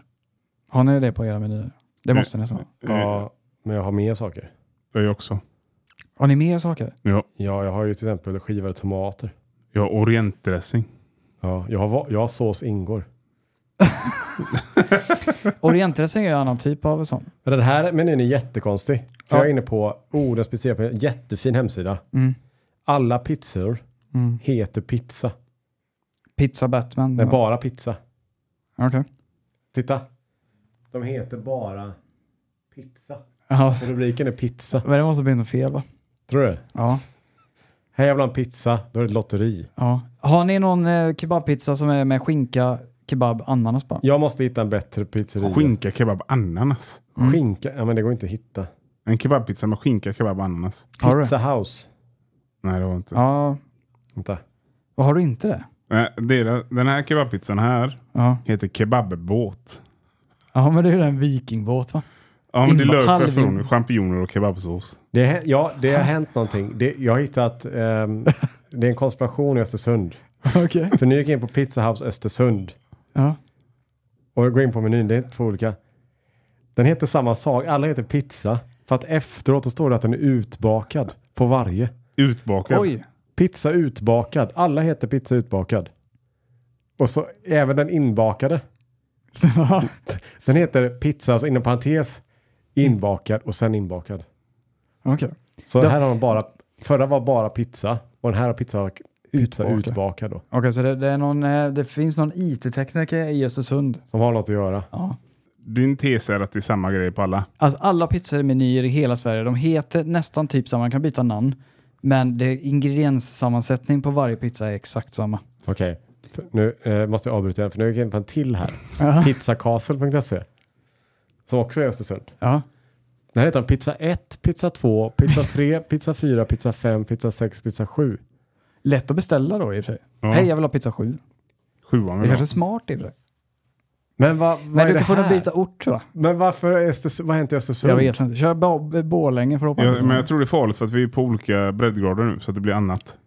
[SPEAKER 3] Har ni det på era menyer? Det måste ni nästan ha.
[SPEAKER 1] Ja.
[SPEAKER 2] Ja, men jag har mer saker.
[SPEAKER 1] Eh, Jag också.
[SPEAKER 3] Har ni mer saker?
[SPEAKER 1] Ja.
[SPEAKER 2] Ja, jag har ju till exempel skivade tomater.
[SPEAKER 1] Jag har orientdressing.
[SPEAKER 2] Ja, jag har, va- jag har sås ingår.
[SPEAKER 3] Orientdressing är ju en annan typ av sån.
[SPEAKER 2] Men den här menyn är jättekonstig. För
[SPEAKER 3] Ja.
[SPEAKER 2] jag är inne på Odens pizzeria på en jättefin hemsida.
[SPEAKER 3] Mm.
[SPEAKER 2] Alla pizzor
[SPEAKER 3] Mm.
[SPEAKER 2] heter pizza.
[SPEAKER 3] Pizza Batman.
[SPEAKER 2] Det är bara pizza.
[SPEAKER 3] Okej.
[SPEAKER 2] Titta. De heter bara pizza.
[SPEAKER 3] Ja,
[SPEAKER 2] Så rubriken är pizza.
[SPEAKER 3] men det måste bli något fel va?
[SPEAKER 2] Tror du?
[SPEAKER 3] Ja.
[SPEAKER 2] Här jag vill ha en pizza. Då är det ett lotteri.
[SPEAKER 3] Ja. Har ni någon eh, kebabpizza som är med skinka, kebab, ananas bara?
[SPEAKER 2] Jag måste hitta en bättre pizzeria.
[SPEAKER 1] Skinka, kebab, ananas.
[SPEAKER 3] Mm.
[SPEAKER 2] Skinka. Ja, men det går inte att hitta.
[SPEAKER 1] En kebabpizza med skinka, kebab, ananas.
[SPEAKER 3] Har du?
[SPEAKER 2] Pizza House.
[SPEAKER 1] Nej, det var inte.
[SPEAKER 3] Ja.
[SPEAKER 2] Vänta.
[SPEAKER 3] Och har du inte det?
[SPEAKER 1] Nej, det är det- Den här kebabpizzan här
[SPEAKER 3] Ja.
[SPEAKER 1] heter kebabbåt.
[SPEAKER 3] Ja, men det är ju en vikingbåt va?
[SPEAKER 1] Ja, men det är
[SPEAKER 3] Inba-
[SPEAKER 1] lök,
[SPEAKER 3] halv-
[SPEAKER 1] feferoni, champinjoner och kebabsås.
[SPEAKER 2] Det, hä- ja, det har hänt någonting. Det, jag har hittat, ehm, det är en konspiration i Östersund.
[SPEAKER 3] [LAUGHS] Okej.
[SPEAKER 2] För nu gick jag in på Pizza House Östersund
[SPEAKER 3] Ja.
[SPEAKER 2] och jag går in på menyn, det är två olika. Den heter samma sak, alla heter pizza. För att efteråt så står det att den är utbakad på varje.
[SPEAKER 1] Utbakad.
[SPEAKER 3] Oj.
[SPEAKER 2] Pizza utbakad, alla heter pizza utbakad. Och så även den inbakade. Den heter pizza, alltså inom parentes, inbakad och sen inbakad.
[SPEAKER 3] [LAUGHS] Okej.
[SPEAKER 2] Så
[SPEAKER 3] Ja.
[SPEAKER 2] här har de bara, förra var bara pizza och den här har pizza, pizza
[SPEAKER 3] Utbakad.
[SPEAKER 2] utbakad då.
[SPEAKER 3] Okej, så det, det, är någon, eh, det finns någon IT-tekniker i Östersund?
[SPEAKER 2] Som har något att göra.
[SPEAKER 3] Ja.
[SPEAKER 1] Din tes är att det är samma grej på alla.
[SPEAKER 3] Alltså alla pizzamenyer i hela Sverige, de heter nästan typ samma, man kan byta namn. Men det ingredienssammansättning på varje pizza är exakt samma.
[SPEAKER 2] Okej, F- nu eh, måste jag avbryta igen för nu är jag inne på en till här.
[SPEAKER 3] [LAUGHS]
[SPEAKER 2] Pizzacastle.se Som också är i Östersund.
[SPEAKER 3] Ja.
[SPEAKER 2] Där heter de pizza 1, pizza 2, pizza
[SPEAKER 3] [LAUGHS]
[SPEAKER 2] 3, pizza 4, pizza 5, pizza 6, pizza 7.
[SPEAKER 3] Lätt att beställa då i och för sig.
[SPEAKER 1] Ja.
[SPEAKER 3] Hej, jag vill ha pizza 7.
[SPEAKER 1] Sjuan
[SPEAKER 3] Det är
[SPEAKER 1] vill
[SPEAKER 3] kanske är
[SPEAKER 1] ha.
[SPEAKER 3] smart i och för sig.
[SPEAKER 2] Men vad, vad
[SPEAKER 3] Men
[SPEAKER 2] är
[SPEAKER 3] du
[SPEAKER 2] det
[SPEAKER 3] kan få
[SPEAKER 2] här?
[SPEAKER 3] nog byta ort tror jag.
[SPEAKER 2] Men varför är Östersund, vad har hänt i Östersund?
[SPEAKER 3] Jag vet inte. Kör Bo- Borlänge förhoppningsvis.
[SPEAKER 1] Jag, men jag tror det är farligt för att vi är på olika breddgrader nu så att det blir annat.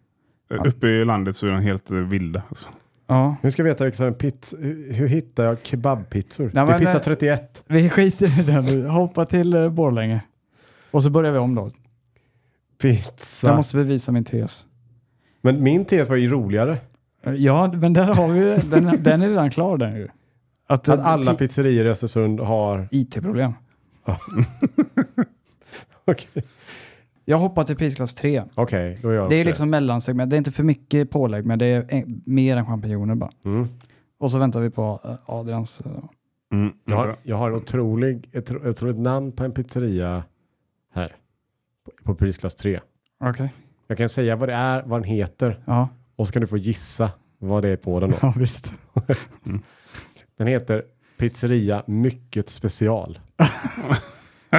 [SPEAKER 1] Eh, Uppe i landet så är de helt eh, vilda. Alltså.
[SPEAKER 3] Ja.
[SPEAKER 2] Nu ska jag veta liksom, pizz, hur hur hittar jag kebabpizzor?
[SPEAKER 3] Nej,
[SPEAKER 2] det är
[SPEAKER 3] men,
[SPEAKER 2] pizza
[SPEAKER 3] eh,
[SPEAKER 2] 31.
[SPEAKER 3] Vi skiter i det nu. Hoppa till eh, Borlänge. Och så börjar vi om då. Jag
[SPEAKER 2] Pizza.
[SPEAKER 3] måste bevisa min tes.
[SPEAKER 2] Men min tes var ju roligare.
[SPEAKER 3] Eh, Ja, men där har vi ju- den, den är redan klar den ju. Att,
[SPEAKER 2] Att eh, alla
[SPEAKER 3] ti-
[SPEAKER 2] pizzerior i Östersund har... [LAUGHS]
[SPEAKER 3] IT-problem.
[SPEAKER 2] Okej,
[SPEAKER 3] Jag hoppar till prisklass 3.
[SPEAKER 2] Okej, då gör jag
[SPEAKER 3] Det är
[SPEAKER 2] också
[SPEAKER 3] liksom mellansegment. Det är inte för mycket pålägg, men det är en- mer än champinjoner bara.
[SPEAKER 2] Mm.
[SPEAKER 3] Och så väntar vi på eh, Adrians... eh,
[SPEAKER 1] Mm,
[SPEAKER 2] Jag har,
[SPEAKER 1] vänta.
[SPEAKER 2] jag har en otrolig, ett ett otroligt namn på en pizzeria här. På, på prisklass 3.
[SPEAKER 3] Okej.
[SPEAKER 2] Jag kan säga vad det är, vad den heter
[SPEAKER 3] Ja.
[SPEAKER 2] och så kan du få gissa vad det är på
[SPEAKER 3] [LAUGHS]
[SPEAKER 2] den då.
[SPEAKER 3] ja, visst.
[SPEAKER 2] Den heter Pizzeria Mycket Special.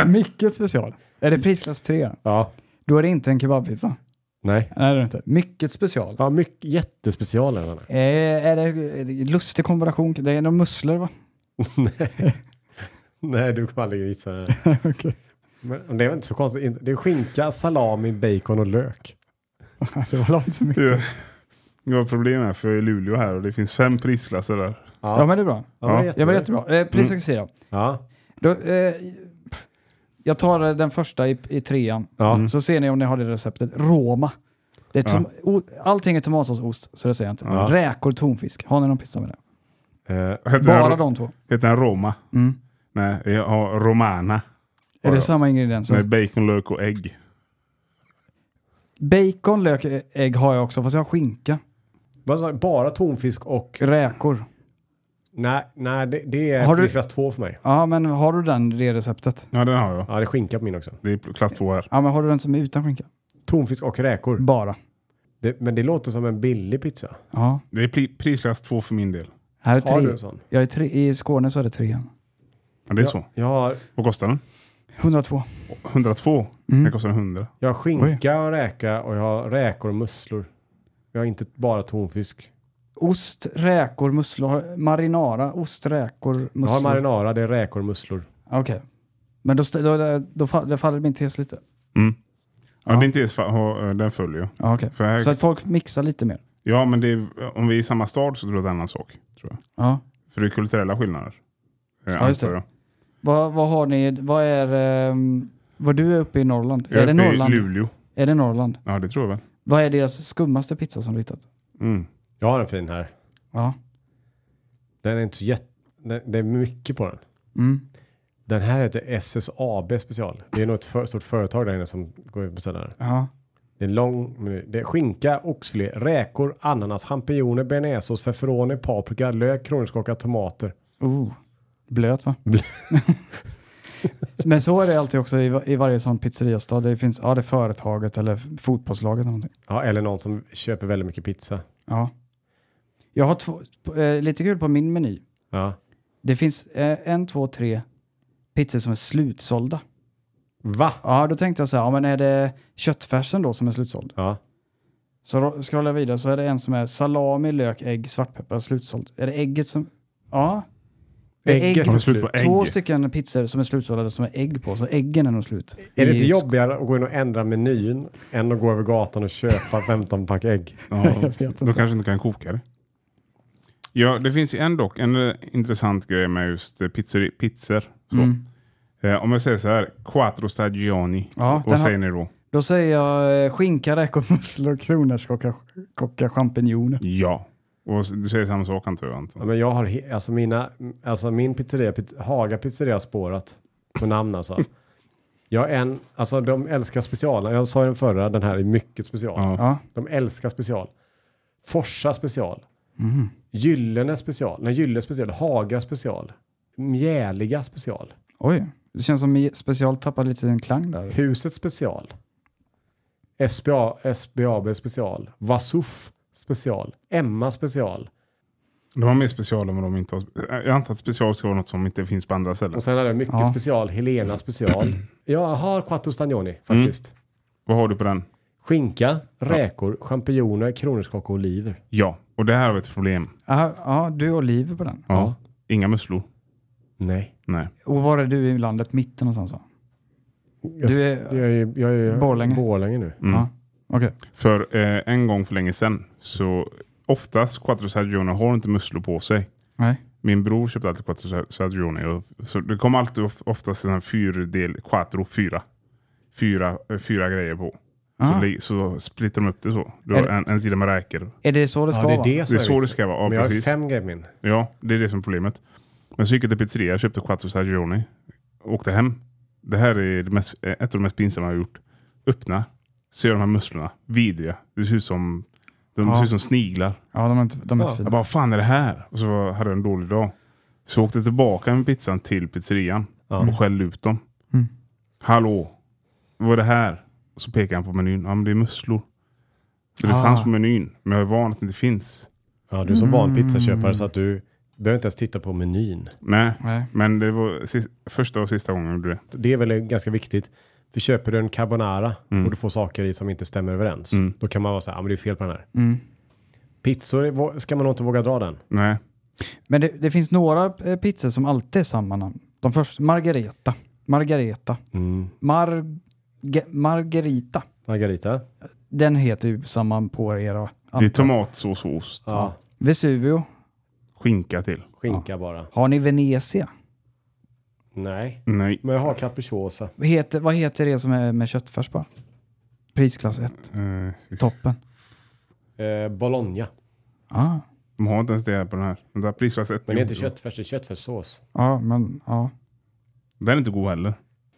[SPEAKER 3] Mycket special. Är det prisklass 3?
[SPEAKER 2] Ja,
[SPEAKER 3] Då är det inte en kebabpizza.
[SPEAKER 2] nej.
[SPEAKER 3] Nej, det är det inte. Mycket special.
[SPEAKER 2] Ja, mycket, jättespecial är den. här.
[SPEAKER 3] Eh, är det är det lustig kombination? Det är några musslor va?
[SPEAKER 2] Nej, du kommer aldrig gissa det. [LAUGHS]
[SPEAKER 3] Okej.
[SPEAKER 2] Men det är väl inte så konstigt. Inte- Det är skinka, salami, bacon och lök.
[SPEAKER 3] det var långt så mycket.
[SPEAKER 1] Jag- Jag har problem här för jag är i Luleå här och det finns fem prisklasser där.
[SPEAKER 3] Ja, men det är bra. Ja, men jättebra. Eh,
[SPEAKER 2] Mm.
[SPEAKER 3] prisklass 4.
[SPEAKER 2] Ja,
[SPEAKER 3] Då, eh, jag tar eh, den första i, i trean.
[SPEAKER 2] ja.
[SPEAKER 3] Så ser ni om ni har det receptet. Roma. Det är tom- o- allting är tomatsås och ost, så det säger jag inte.
[SPEAKER 2] Ja.
[SPEAKER 3] Räkor, tonfisk. Har ni någon pizza med det?
[SPEAKER 2] Eh,
[SPEAKER 1] Heter
[SPEAKER 3] Bara
[SPEAKER 1] den,
[SPEAKER 3] de två.
[SPEAKER 1] Heter den Roma?
[SPEAKER 3] Mm.
[SPEAKER 1] Nej, jag har Romana.
[SPEAKER 3] Är det
[SPEAKER 1] Ja.
[SPEAKER 3] samma ingredienser?
[SPEAKER 1] Med bacon, lök och ägg.
[SPEAKER 3] Bacon, lök, ä- ägg har jag också, fast jag har skinka.
[SPEAKER 2] vad sa du? bara tonfisk och...
[SPEAKER 3] Räkor.
[SPEAKER 2] Nej, nej det, det är
[SPEAKER 3] Har du-
[SPEAKER 2] prisklass 2 för mig.
[SPEAKER 3] Ja, men har du den, det receptet?
[SPEAKER 1] Ja, den har jag.
[SPEAKER 2] Ja, det är skinka på min också.
[SPEAKER 1] Det är klass två här.
[SPEAKER 3] Ja, men har du den som är utan skinka?
[SPEAKER 2] Tonfisk och räkor.
[SPEAKER 3] Bara.
[SPEAKER 2] Det, men det låter som en billig pizza.
[SPEAKER 3] Ja.
[SPEAKER 1] Det är pri- prisklass två för min del.
[SPEAKER 3] Här är
[SPEAKER 2] Har du
[SPEAKER 3] tre.
[SPEAKER 2] en sån?
[SPEAKER 3] Jag är tre. I Skåne så är det trean.
[SPEAKER 1] Ja, det är så.
[SPEAKER 2] Jag har,
[SPEAKER 1] Vad kostar den?
[SPEAKER 3] 102.
[SPEAKER 1] 102?
[SPEAKER 3] Mm.
[SPEAKER 1] Den kostar 100.
[SPEAKER 2] jag har skinka och räka och jag har räkor och musslor. Jag har inte bara tonfisk.
[SPEAKER 3] Ost, räkor, musslor. Marinara, ost, räkor, musslor.
[SPEAKER 2] Jag har marinara, det är räkor och musslor.
[SPEAKER 3] Okej. Men då, st- då, då, då, fa- då faller min tes lite.
[SPEAKER 1] Mm. Ja,
[SPEAKER 3] Ja.
[SPEAKER 1] Det är inte ens fa- ha- eh, den följer ju.
[SPEAKER 3] Ja, okej.
[SPEAKER 1] För här-
[SPEAKER 3] Så att folk mixar lite mer.
[SPEAKER 1] Ja, men det är, om vi är i samma stad så tror jag att det är en annan sak. Tror jag.
[SPEAKER 3] Ja.
[SPEAKER 1] För det är kulturella skillnader. Eh,
[SPEAKER 3] Ja, just det.
[SPEAKER 1] antar jag.
[SPEAKER 3] Vad, vad har ni, vad är, ehm, vad du är uppe i Norrland?
[SPEAKER 1] Jag
[SPEAKER 3] är det
[SPEAKER 1] uppe i
[SPEAKER 3] Norrland?
[SPEAKER 1] Luleå.
[SPEAKER 3] Är det Norrland? Ja.
[SPEAKER 1] Ja, det tror jag väl.
[SPEAKER 3] Vad är deras skummaste pizza som du hittat?
[SPEAKER 1] Mm.
[SPEAKER 2] Jag har en fin här.
[SPEAKER 3] Ja.
[SPEAKER 2] Den är inte så jätte... Den, det är mycket på den.
[SPEAKER 3] Mm.
[SPEAKER 2] Den här heter SSAB special. Det är nog ett för, stort företag där inne som går ut på den här.
[SPEAKER 3] Ja.
[SPEAKER 2] Det är en lång meny. Det är skinka, oxfilé, räkor, ananas, champinjoner, bearnaisesås, feferoni, paprika, lök, kronärtskocka, tomater.
[SPEAKER 3] Oh. Blöt va? [LAUGHS] Men så är det alltid också i, va- i varje sån pizzeriastad. Det finns, ja det är företaget eller fotbollslaget eller någonting.
[SPEAKER 2] Ja, eller någon som köper väldigt mycket pizza.
[SPEAKER 3] Ja. Jag har två, eh, lite kul på min meny.
[SPEAKER 2] Ja.
[SPEAKER 3] Det finns eh, en, två, tre pizzor som är slutsålda.
[SPEAKER 2] Va?
[SPEAKER 3] Ja, då tänkte jag så här, ja, men är det köttfärsen då som är slutsåld?
[SPEAKER 2] Ja.
[SPEAKER 3] Så ro- scrollar jag vidare så är det en som är salami, lök, ägg, svartpeppar, slutsåld. Är det ägget som... Ja. Det är
[SPEAKER 2] Ägget
[SPEAKER 1] Har
[SPEAKER 2] är
[SPEAKER 1] vi slut på ägg?
[SPEAKER 3] Två stycken pizzor som är slutsålda som är ägg på, så äggen är nog slut.
[SPEAKER 2] Är det
[SPEAKER 3] I-
[SPEAKER 2] inte jobbigare att gå in och ändra menyn än att gå över gatan och köpa 15 pack ägg?
[SPEAKER 3] [LAUGHS]
[SPEAKER 1] Ja, då kanske inte kan koka det. Ja, det finns ju en dock, en eh, intressant grej med just eh, pizzeri- pizzor. Så.
[SPEAKER 3] Mm.
[SPEAKER 1] Eh, om jag säger så här, quattro stagioni,
[SPEAKER 3] Ja, den har-
[SPEAKER 1] vad säger ni då?
[SPEAKER 3] Då säger jag eh, skinka, räkor, musslor, kronärtskocka, kocka, champinjoner.
[SPEAKER 1] Ja. Och s- du säger samma sak antar jag
[SPEAKER 2] Ja,
[SPEAKER 1] Anton.
[SPEAKER 2] men jag har, he- alltså mina, alltså min pizzeria, pit, Haga pizzeria har spårat på namn alltså. Jag har en, alltså de älskar specialen. Jag sa ju den förra, den här är mycket special.
[SPEAKER 1] Ja.
[SPEAKER 3] Ja.
[SPEAKER 2] De älskar special. Forsa special. Gyllene special. Nej, Gyllene special. Haga special. Mjäliga special.
[SPEAKER 3] Oj. Det känns som i- special tappar lite sin klang där.
[SPEAKER 2] Huset special. SBA, SBAB special. Vasuf special. Emma special.
[SPEAKER 1] De har mer special om de inte har... Jag antar att special ska vara något som inte finns på andra ställen.
[SPEAKER 2] Och sen hade jag mycket
[SPEAKER 3] Ja.
[SPEAKER 2] special. Helena special. Jag har quattro stagnoni faktiskt.
[SPEAKER 1] Vad har du på den?
[SPEAKER 2] Skinka, räkor, champinjoner, kronärtskocka och oliver.
[SPEAKER 1] Ja, och det här har vi ett problem.
[SPEAKER 3] Aha, ja, du och Oliver på den.
[SPEAKER 1] Ja. Inga musslor.
[SPEAKER 2] Nej.
[SPEAKER 1] Nej.
[SPEAKER 3] Och var är du i landet? Mitten någonstans va?
[SPEAKER 2] Jag,
[SPEAKER 3] Du
[SPEAKER 2] du
[SPEAKER 3] är-
[SPEAKER 2] är, jag är, jag är
[SPEAKER 3] Borlänge.
[SPEAKER 2] Mm. Borlänge nu.
[SPEAKER 1] Mm.
[SPEAKER 3] Ja. Okej.
[SPEAKER 1] För eh, en gång för länge sedan så oftast quattro stagione har inte musslor på sig.
[SPEAKER 3] Nej.
[SPEAKER 1] Min bror köpte alltid quattro stagione. och- Så det kom alltid of- oftast en fyrdel, quattro, fyra. Fyra, eh, fyra grejer på. Så,
[SPEAKER 3] Ah.
[SPEAKER 1] li- så splittar de upp det så. Du
[SPEAKER 3] Är
[SPEAKER 1] har
[SPEAKER 3] det-
[SPEAKER 1] en, en sida med räkor.
[SPEAKER 3] Är det så det ska
[SPEAKER 2] Ja, det är
[SPEAKER 3] vara?
[SPEAKER 2] det som
[SPEAKER 1] Det är så det
[SPEAKER 2] vitsen.
[SPEAKER 1] ska vara, ja,
[SPEAKER 2] Men jag har
[SPEAKER 1] precis.
[SPEAKER 2] fem grejer på min.
[SPEAKER 1] Ja, det är det som är problemet. Men så gick jag till pizzeria, jag köpte quattro stagioni. Åkte hem. Det här är det mest, eh, ett av de mest pinsamma jag har gjort. Öppna. Ser de här musslorna. Vidriga. Det ser ut som, de
[SPEAKER 3] Ja.
[SPEAKER 1] ser ut som sniglar.
[SPEAKER 3] Ja, de är inte, de är
[SPEAKER 2] Ja.
[SPEAKER 3] inte
[SPEAKER 1] Jag
[SPEAKER 3] fina.
[SPEAKER 1] bara, fan är det här? Och så var- hade jag en dålig dag. Så jag åkte tillbaka med pizzan till pizzerian
[SPEAKER 2] Ja.
[SPEAKER 1] och skällde ut dem.
[SPEAKER 3] Mm.
[SPEAKER 1] Hallå, vad är det här? Och så pekade han på menyn. Ja, men det är musslor. Så det
[SPEAKER 3] Ah.
[SPEAKER 1] fanns på menyn, men jag är van att det inte finns.
[SPEAKER 2] Ja, du är så van pizzaköpare så att du behöver inte ens titta på menyn.
[SPEAKER 1] Nej,
[SPEAKER 3] Nej.
[SPEAKER 1] men det var sis- första och sista gången jag gjorde det.
[SPEAKER 2] Det är väl ganska viktigt. För köper du en carbonara och du får saker i som inte stämmer överens, då kan man vara så här, ah, men det är fel på den här.
[SPEAKER 3] Mm.
[SPEAKER 2] Pizzor är- vå- ska man nog inte våga dra den.
[SPEAKER 1] Nej,
[SPEAKER 3] Men det, det finns några eh, pizzor som alltid är samma namn. De första, Margareta. Margareta.
[SPEAKER 2] Mm.
[SPEAKER 3] Mar, ge- Margarita.
[SPEAKER 2] Margarita?
[SPEAKER 3] Den heter ju samma på era.
[SPEAKER 1] det är
[SPEAKER 3] antar-
[SPEAKER 1] tomatsås och ost.
[SPEAKER 2] Ja.
[SPEAKER 3] Vesuvio.
[SPEAKER 1] Skinka till.
[SPEAKER 2] Skinka bara.
[SPEAKER 3] Har ni Venezia?
[SPEAKER 2] Nej.
[SPEAKER 1] Nej,
[SPEAKER 2] Men jag har capricciosa.
[SPEAKER 3] Vad Heter, vad heter det som är med köttfärs bara? Prisklass 1.
[SPEAKER 1] eh,
[SPEAKER 3] Toppen.
[SPEAKER 2] Eh, Bologna.
[SPEAKER 3] Ah.
[SPEAKER 1] de har inte ens det här på den här. Men det, här prisklass ett-
[SPEAKER 2] Men det är inte köttfärs, det är köttfärssås.
[SPEAKER 3] Ja, men ja.
[SPEAKER 1] Den är inte god heller.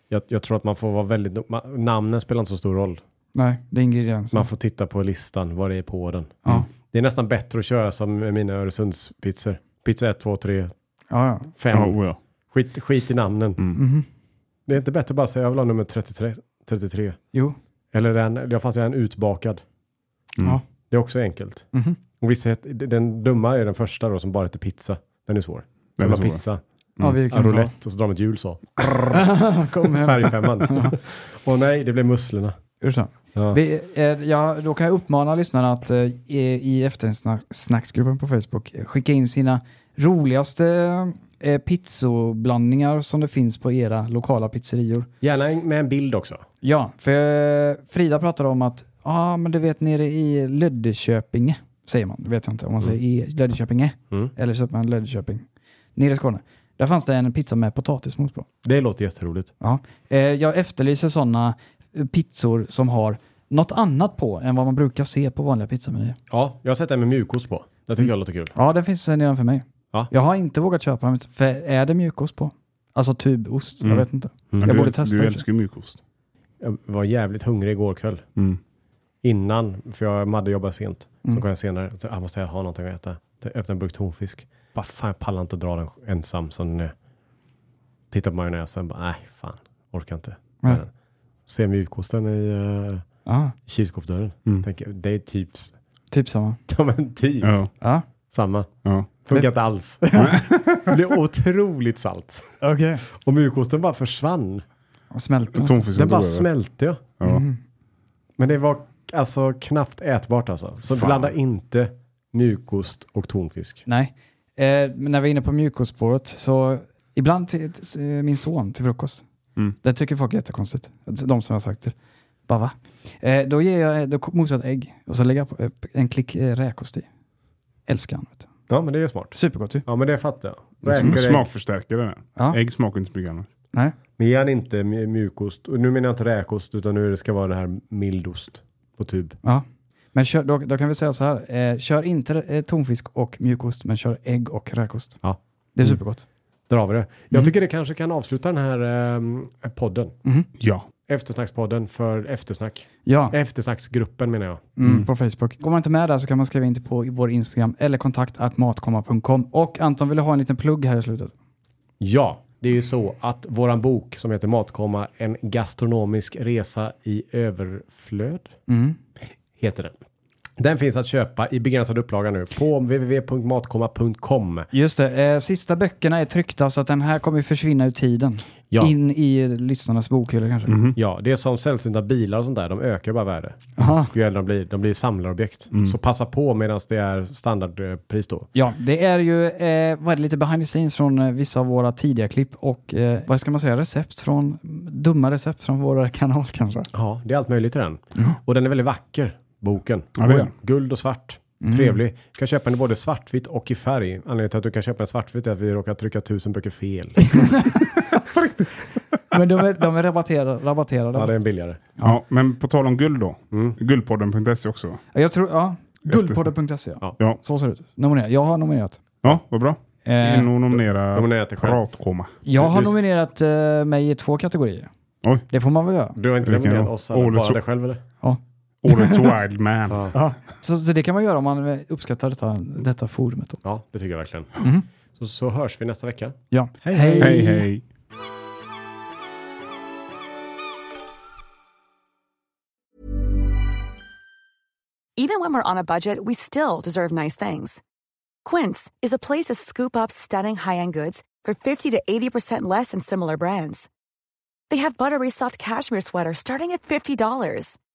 [SPEAKER 2] Jag, jag tror att man får vara väldigt... ma- Namnen spelar inte så stor roll.
[SPEAKER 3] Nej, det är ingredienser.
[SPEAKER 2] Man får titta på listan, vad det är på den. Mm.
[SPEAKER 3] Ja.
[SPEAKER 2] Det är nästan bättre att köra som med mina Öresundspizzor. Pizza 1, 2, 3,
[SPEAKER 3] Ja, ja.
[SPEAKER 2] 5.
[SPEAKER 1] oh, ja.
[SPEAKER 2] Skit, skit i namnen.
[SPEAKER 3] Mhm.
[SPEAKER 2] Det är inte bättre att bara säga jag vill ha nummer 33. 33.
[SPEAKER 3] Jo.
[SPEAKER 2] Eller den, det fanns ju en utbakad.
[SPEAKER 1] Mm.
[SPEAKER 3] Ja.
[SPEAKER 2] Det är också enkelt.
[SPEAKER 3] Mhm.
[SPEAKER 2] Och vissa heter, den dumma är den första då som bara heter pizza. Den är svår.
[SPEAKER 1] Den
[SPEAKER 2] Den
[SPEAKER 1] är
[SPEAKER 2] var
[SPEAKER 1] svår.
[SPEAKER 2] pizza,
[SPEAKER 3] ja vi
[SPEAKER 2] en
[SPEAKER 3] kan ta.
[SPEAKER 2] roulette och så drar de ett hjul så.
[SPEAKER 3] Kom
[SPEAKER 2] [LAUGHS]
[SPEAKER 3] hem.
[SPEAKER 2] Färgfemman. Åh nej, det blev musslorna.
[SPEAKER 3] Ursäkta.
[SPEAKER 2] Ja.
[SPEAKER 3] Vi, eh, ja, då kan jag uppmana lyssnarna att eh, i- i eftersnacksgruppen på Facebook eh, skicka in sina roligaste eh, pizzoblandningar som det finns på era lokala pizzerior.
[SPEAKER 2] Gärna en- med en bild också.
[SPEAKER 3] Ja, för eh, Frida pratade om att, ja ah, men du vet nere i Löddeköpinge, säger man, det vet jag inte om man säger i Löddeköpinge,
[SPEAKER 2] Mm.
[SPEAKER 3] eller köper man Löddeköping, nere i Skåne. Där fanns det en pizza med potatismos på.
[SPEAKER 2] Det låter jätteroligt.
[SPEAKER 3] Ja. Eh, jag efterlyser sådana pizzor som har något annat på än vad man brukar se på vanliga pizzamenyer.
[SPEAKER 2] Ja, jag har sett den med mjukost på. Det tycker jag låter kul.
[SPEAKER 3] Ja, den finns eh, nedanför mig.
[SPEAKER 2] Ja.
[SPEAKER 3] Jag har inte vågat köpa dem, för är det mjukost på? Alltså tubost,
[SPEAKER 1] Mm.
[SPEAKER 3] jag vet inte.
[SPEAKER 1] Men
[SPEAKER 3] Jag
[SPEAKER 1] du,
[SPEAKER 3] borde testa
[SPEAKER 1] Du
[SPEAKER 3] det.
[SPEAKER 1] älskar ju mjukost.
[SPEAKER 2] Jag var jävligt hungrig igår kväll.
[SPEAKER 1] Mm.
[SPEAKER 2] Innan, för jag hade jobbat sent. Så kom jag senare och tänkte, ah, måste jag ha någonting att äta. Jag öppnade en burk tonfisk. Bara fan, jag pallar inte dra den ensam som den är. Tittar på majonnäsen, bara nej fan, orkar inte.
[SPEAKER 3] Nej.
[SPEAKER 2] Ser mjukosten i uh,
[SPEAKER 3] Ja,
[SPEAKER 2] kylskåpsdörren.
[SPEAKER 1] Mm.
[SPEAKER 2] Tänker, det är typ, s- [LAUGHS]
[SPEAKER 3] typ samma.
[SPEAKER 2] ja men typ
[SPEAKER 1] Ja,
[SPEAKER 3] Ja,
[SPEAKER 2] samma.
[SPEAKER 1] ja.
[SPEAKER 2] Funkar
[SPEAKER 1] [LAUGHS]
[SPEAKER 2] inte alls. [LAUGHS] det blir otroligt salt.
[SPEAKER 3] okej.
[SPEAKER 2] Och mjukosten bara försvann.
[SPEAKER 3] Smälter alltså.
[SPEAKER 1] Tonfisken
[SPEAKER 2] Den bara
[SPEAKER 1] tror jag.
[SPEAKER 2] smälte ja.
[SPEAKER 1] Ja.
[SPEAKER 2] Men det var alltså knappt ätbart alltså. Så
[SPEAKER 1] Fan.
[SPEAKER 2] blanda inte mjukost och tonfisk.
[SPEAKER 3] Nej. Eh, men när vi är inne på mjukostspåret så ibland till, till eh, min son till frukost.
[SPEAKER 1] Mm.
[SPEAKER 3] Det tycker folk är jättekonstigt. De som jag har sagt till. Bara va? Eh, då ger jag, då mosar jag ett ägg och så lägger jag på, eh, en klick eh, räkost i. Älskar han. Vet du.
[SPEAKER 2] Ja men det är smart.
[SPEAKER 3] Supergott ju.
[SPEAKER 2] Ja men det fattar jag.
[SPEAKER 1] Sm-
[SPEAKER 2] Räkor, ägg.
[SPEAKER 1] Smakförstärkare. där.
[SPEAKER 3] Ja.
[SPEAKER 1] Ägg smakar inte så mycket annat.
[SPEAKER 3] Nej.
[SPEAKER 2] Men ge han inte mj- mjukost. Och nu menar jag inte räkost utan nu ska det vara det här mildost på typ. tub.
[SPEAKER 3] Ja. Men kör, då, då kan vi säga så här. Eh, kör inte eh, tonfisk och mjukost, men kör ägg och räkost.
[SPEAKER 2] Ja.
[SPEAKER 3] Det är supergott.
[SPEAKER 2] Där har vi det.
[SPEAKER 1] Mm.
[SPEAKER 2] Jag tycker det kanske kan avsluta den här ehm, podden.
[SPEAKER 1] Ja.
[SPEAKER 2] Eftersnackspodden för eftersnack.
[SPEAKER 3] Ja,
[SPEAKER 2] Eftersnacksgruppen menar jag.
[SPEAKER 3] mm, på Facebook. Går man inte med där så kan man skriva in till på i vår Instagram eller kontakt att matkomma.com. Och Anton ville ha en liten plugg här i slutet.
[SPEAKER 2] Ja, det är ju så att våran bok som heter Matkomma, en gastronomisk resa i överflöd, heter den. Den finns att köpa i begränsad upplaga nu på www.matkomma.com.
[SPEAKER 3] Just det, eh, sista böckerna är tryckta så att den här kommer ju försvinna ur tiden.
[SPEAKER 2] Ja.
[SPEAKER 3] In i lyssnarnas bokhyllor kanske.
[SPEAKER 2] Ja, det är som sällsynta bilar och sånt där, de ökar bara värde.
[SPEAKER 3] Aha.
[SPEAKER 2] Ju äldre de blir, de blir samlarobjekt. Så passa på medan det är standardpris då.
[SPEAKER 3] Ja, det är ju eh, vad är det, lite behind the scenes från eh, vissa av våra tidiga klipp och eh, vad ska man säga, recept från, dumma recept från vår kanal kanske.
[SPEAKER 2] Ja, det är allt möjligt i den. Mm. Och den är väldigt vacker, boken.
[SPEAKER 1] Ja, det är den.
[SPEAKER 2] Guld och svart. Trevlig. Du kan köpa den i både svartvitt och i färg. Anledningen till att du kan köpa den i svartvitt är att vi råkar trycka tusen böcker fel.
[SPEAKER 3] Men de är, de är rabatterade. rabatterade.
[SPEAKER 2] Ja, det är en billigare.
[SPEAKER 1] Ja, men på tal om guld då.
[SPEAKER 2] Mm.
[SPEAKER 1] Guldpodden.se också.
[SPEAKER 3] Ja, Jag tror, ja. Guldpodden.se ja.
[SPEAKER 1] Ja,
[SPEAKER 3] Så ser det ut. Nominera. Jag har nominerat.
[SPEAKER 1] ja vad bra.
[SPEAKER 3] Eh,
[SPEAKER 1] In och nominera
[SPEAKER 2] Nominera dig själv.
[SPEAKER 1] pratkoma.
[SPEAKER 3] jag har
[SPEAKER 2] du-
[SPEAKER 3] nominerat eh, mig i två kategorier.
[SPEAKER 1] Oj.
[SPEAKER 3] Det får man väl göra.
[SPEAKER 2] Du har inte
[SPEAKER 1] Vilken
[SPEAKER 2] nominerat
[SPEAKER 1] då?
[SPEAKER 2] oss, eller
[SPEAKER 1] Ålesund.
[SPEAKER 2] bara dig själv eller? [LAUGHS]
[SPEAKER 1] Årets wild man.
[SPEAKER 3] Så, så det kan man göra om man eh, uppskattar detta, detta forumet. Då.
[SPEAKER 2] Ja, det tycker jag verkligen. Så, så hörs vi nästa vecka.
[SPEAKER 3] Ja.
[SPEAKER 2] Hej,
[SPEAKER 1] Hej hej.
[SPEAKER 6] Even when we're on a budget, we still deserve nice things. Quince is a place to scoop up stunning high-end goods for 50 to 80% less than similar brands. They have buttery soft cashmere sweaters starting at $50,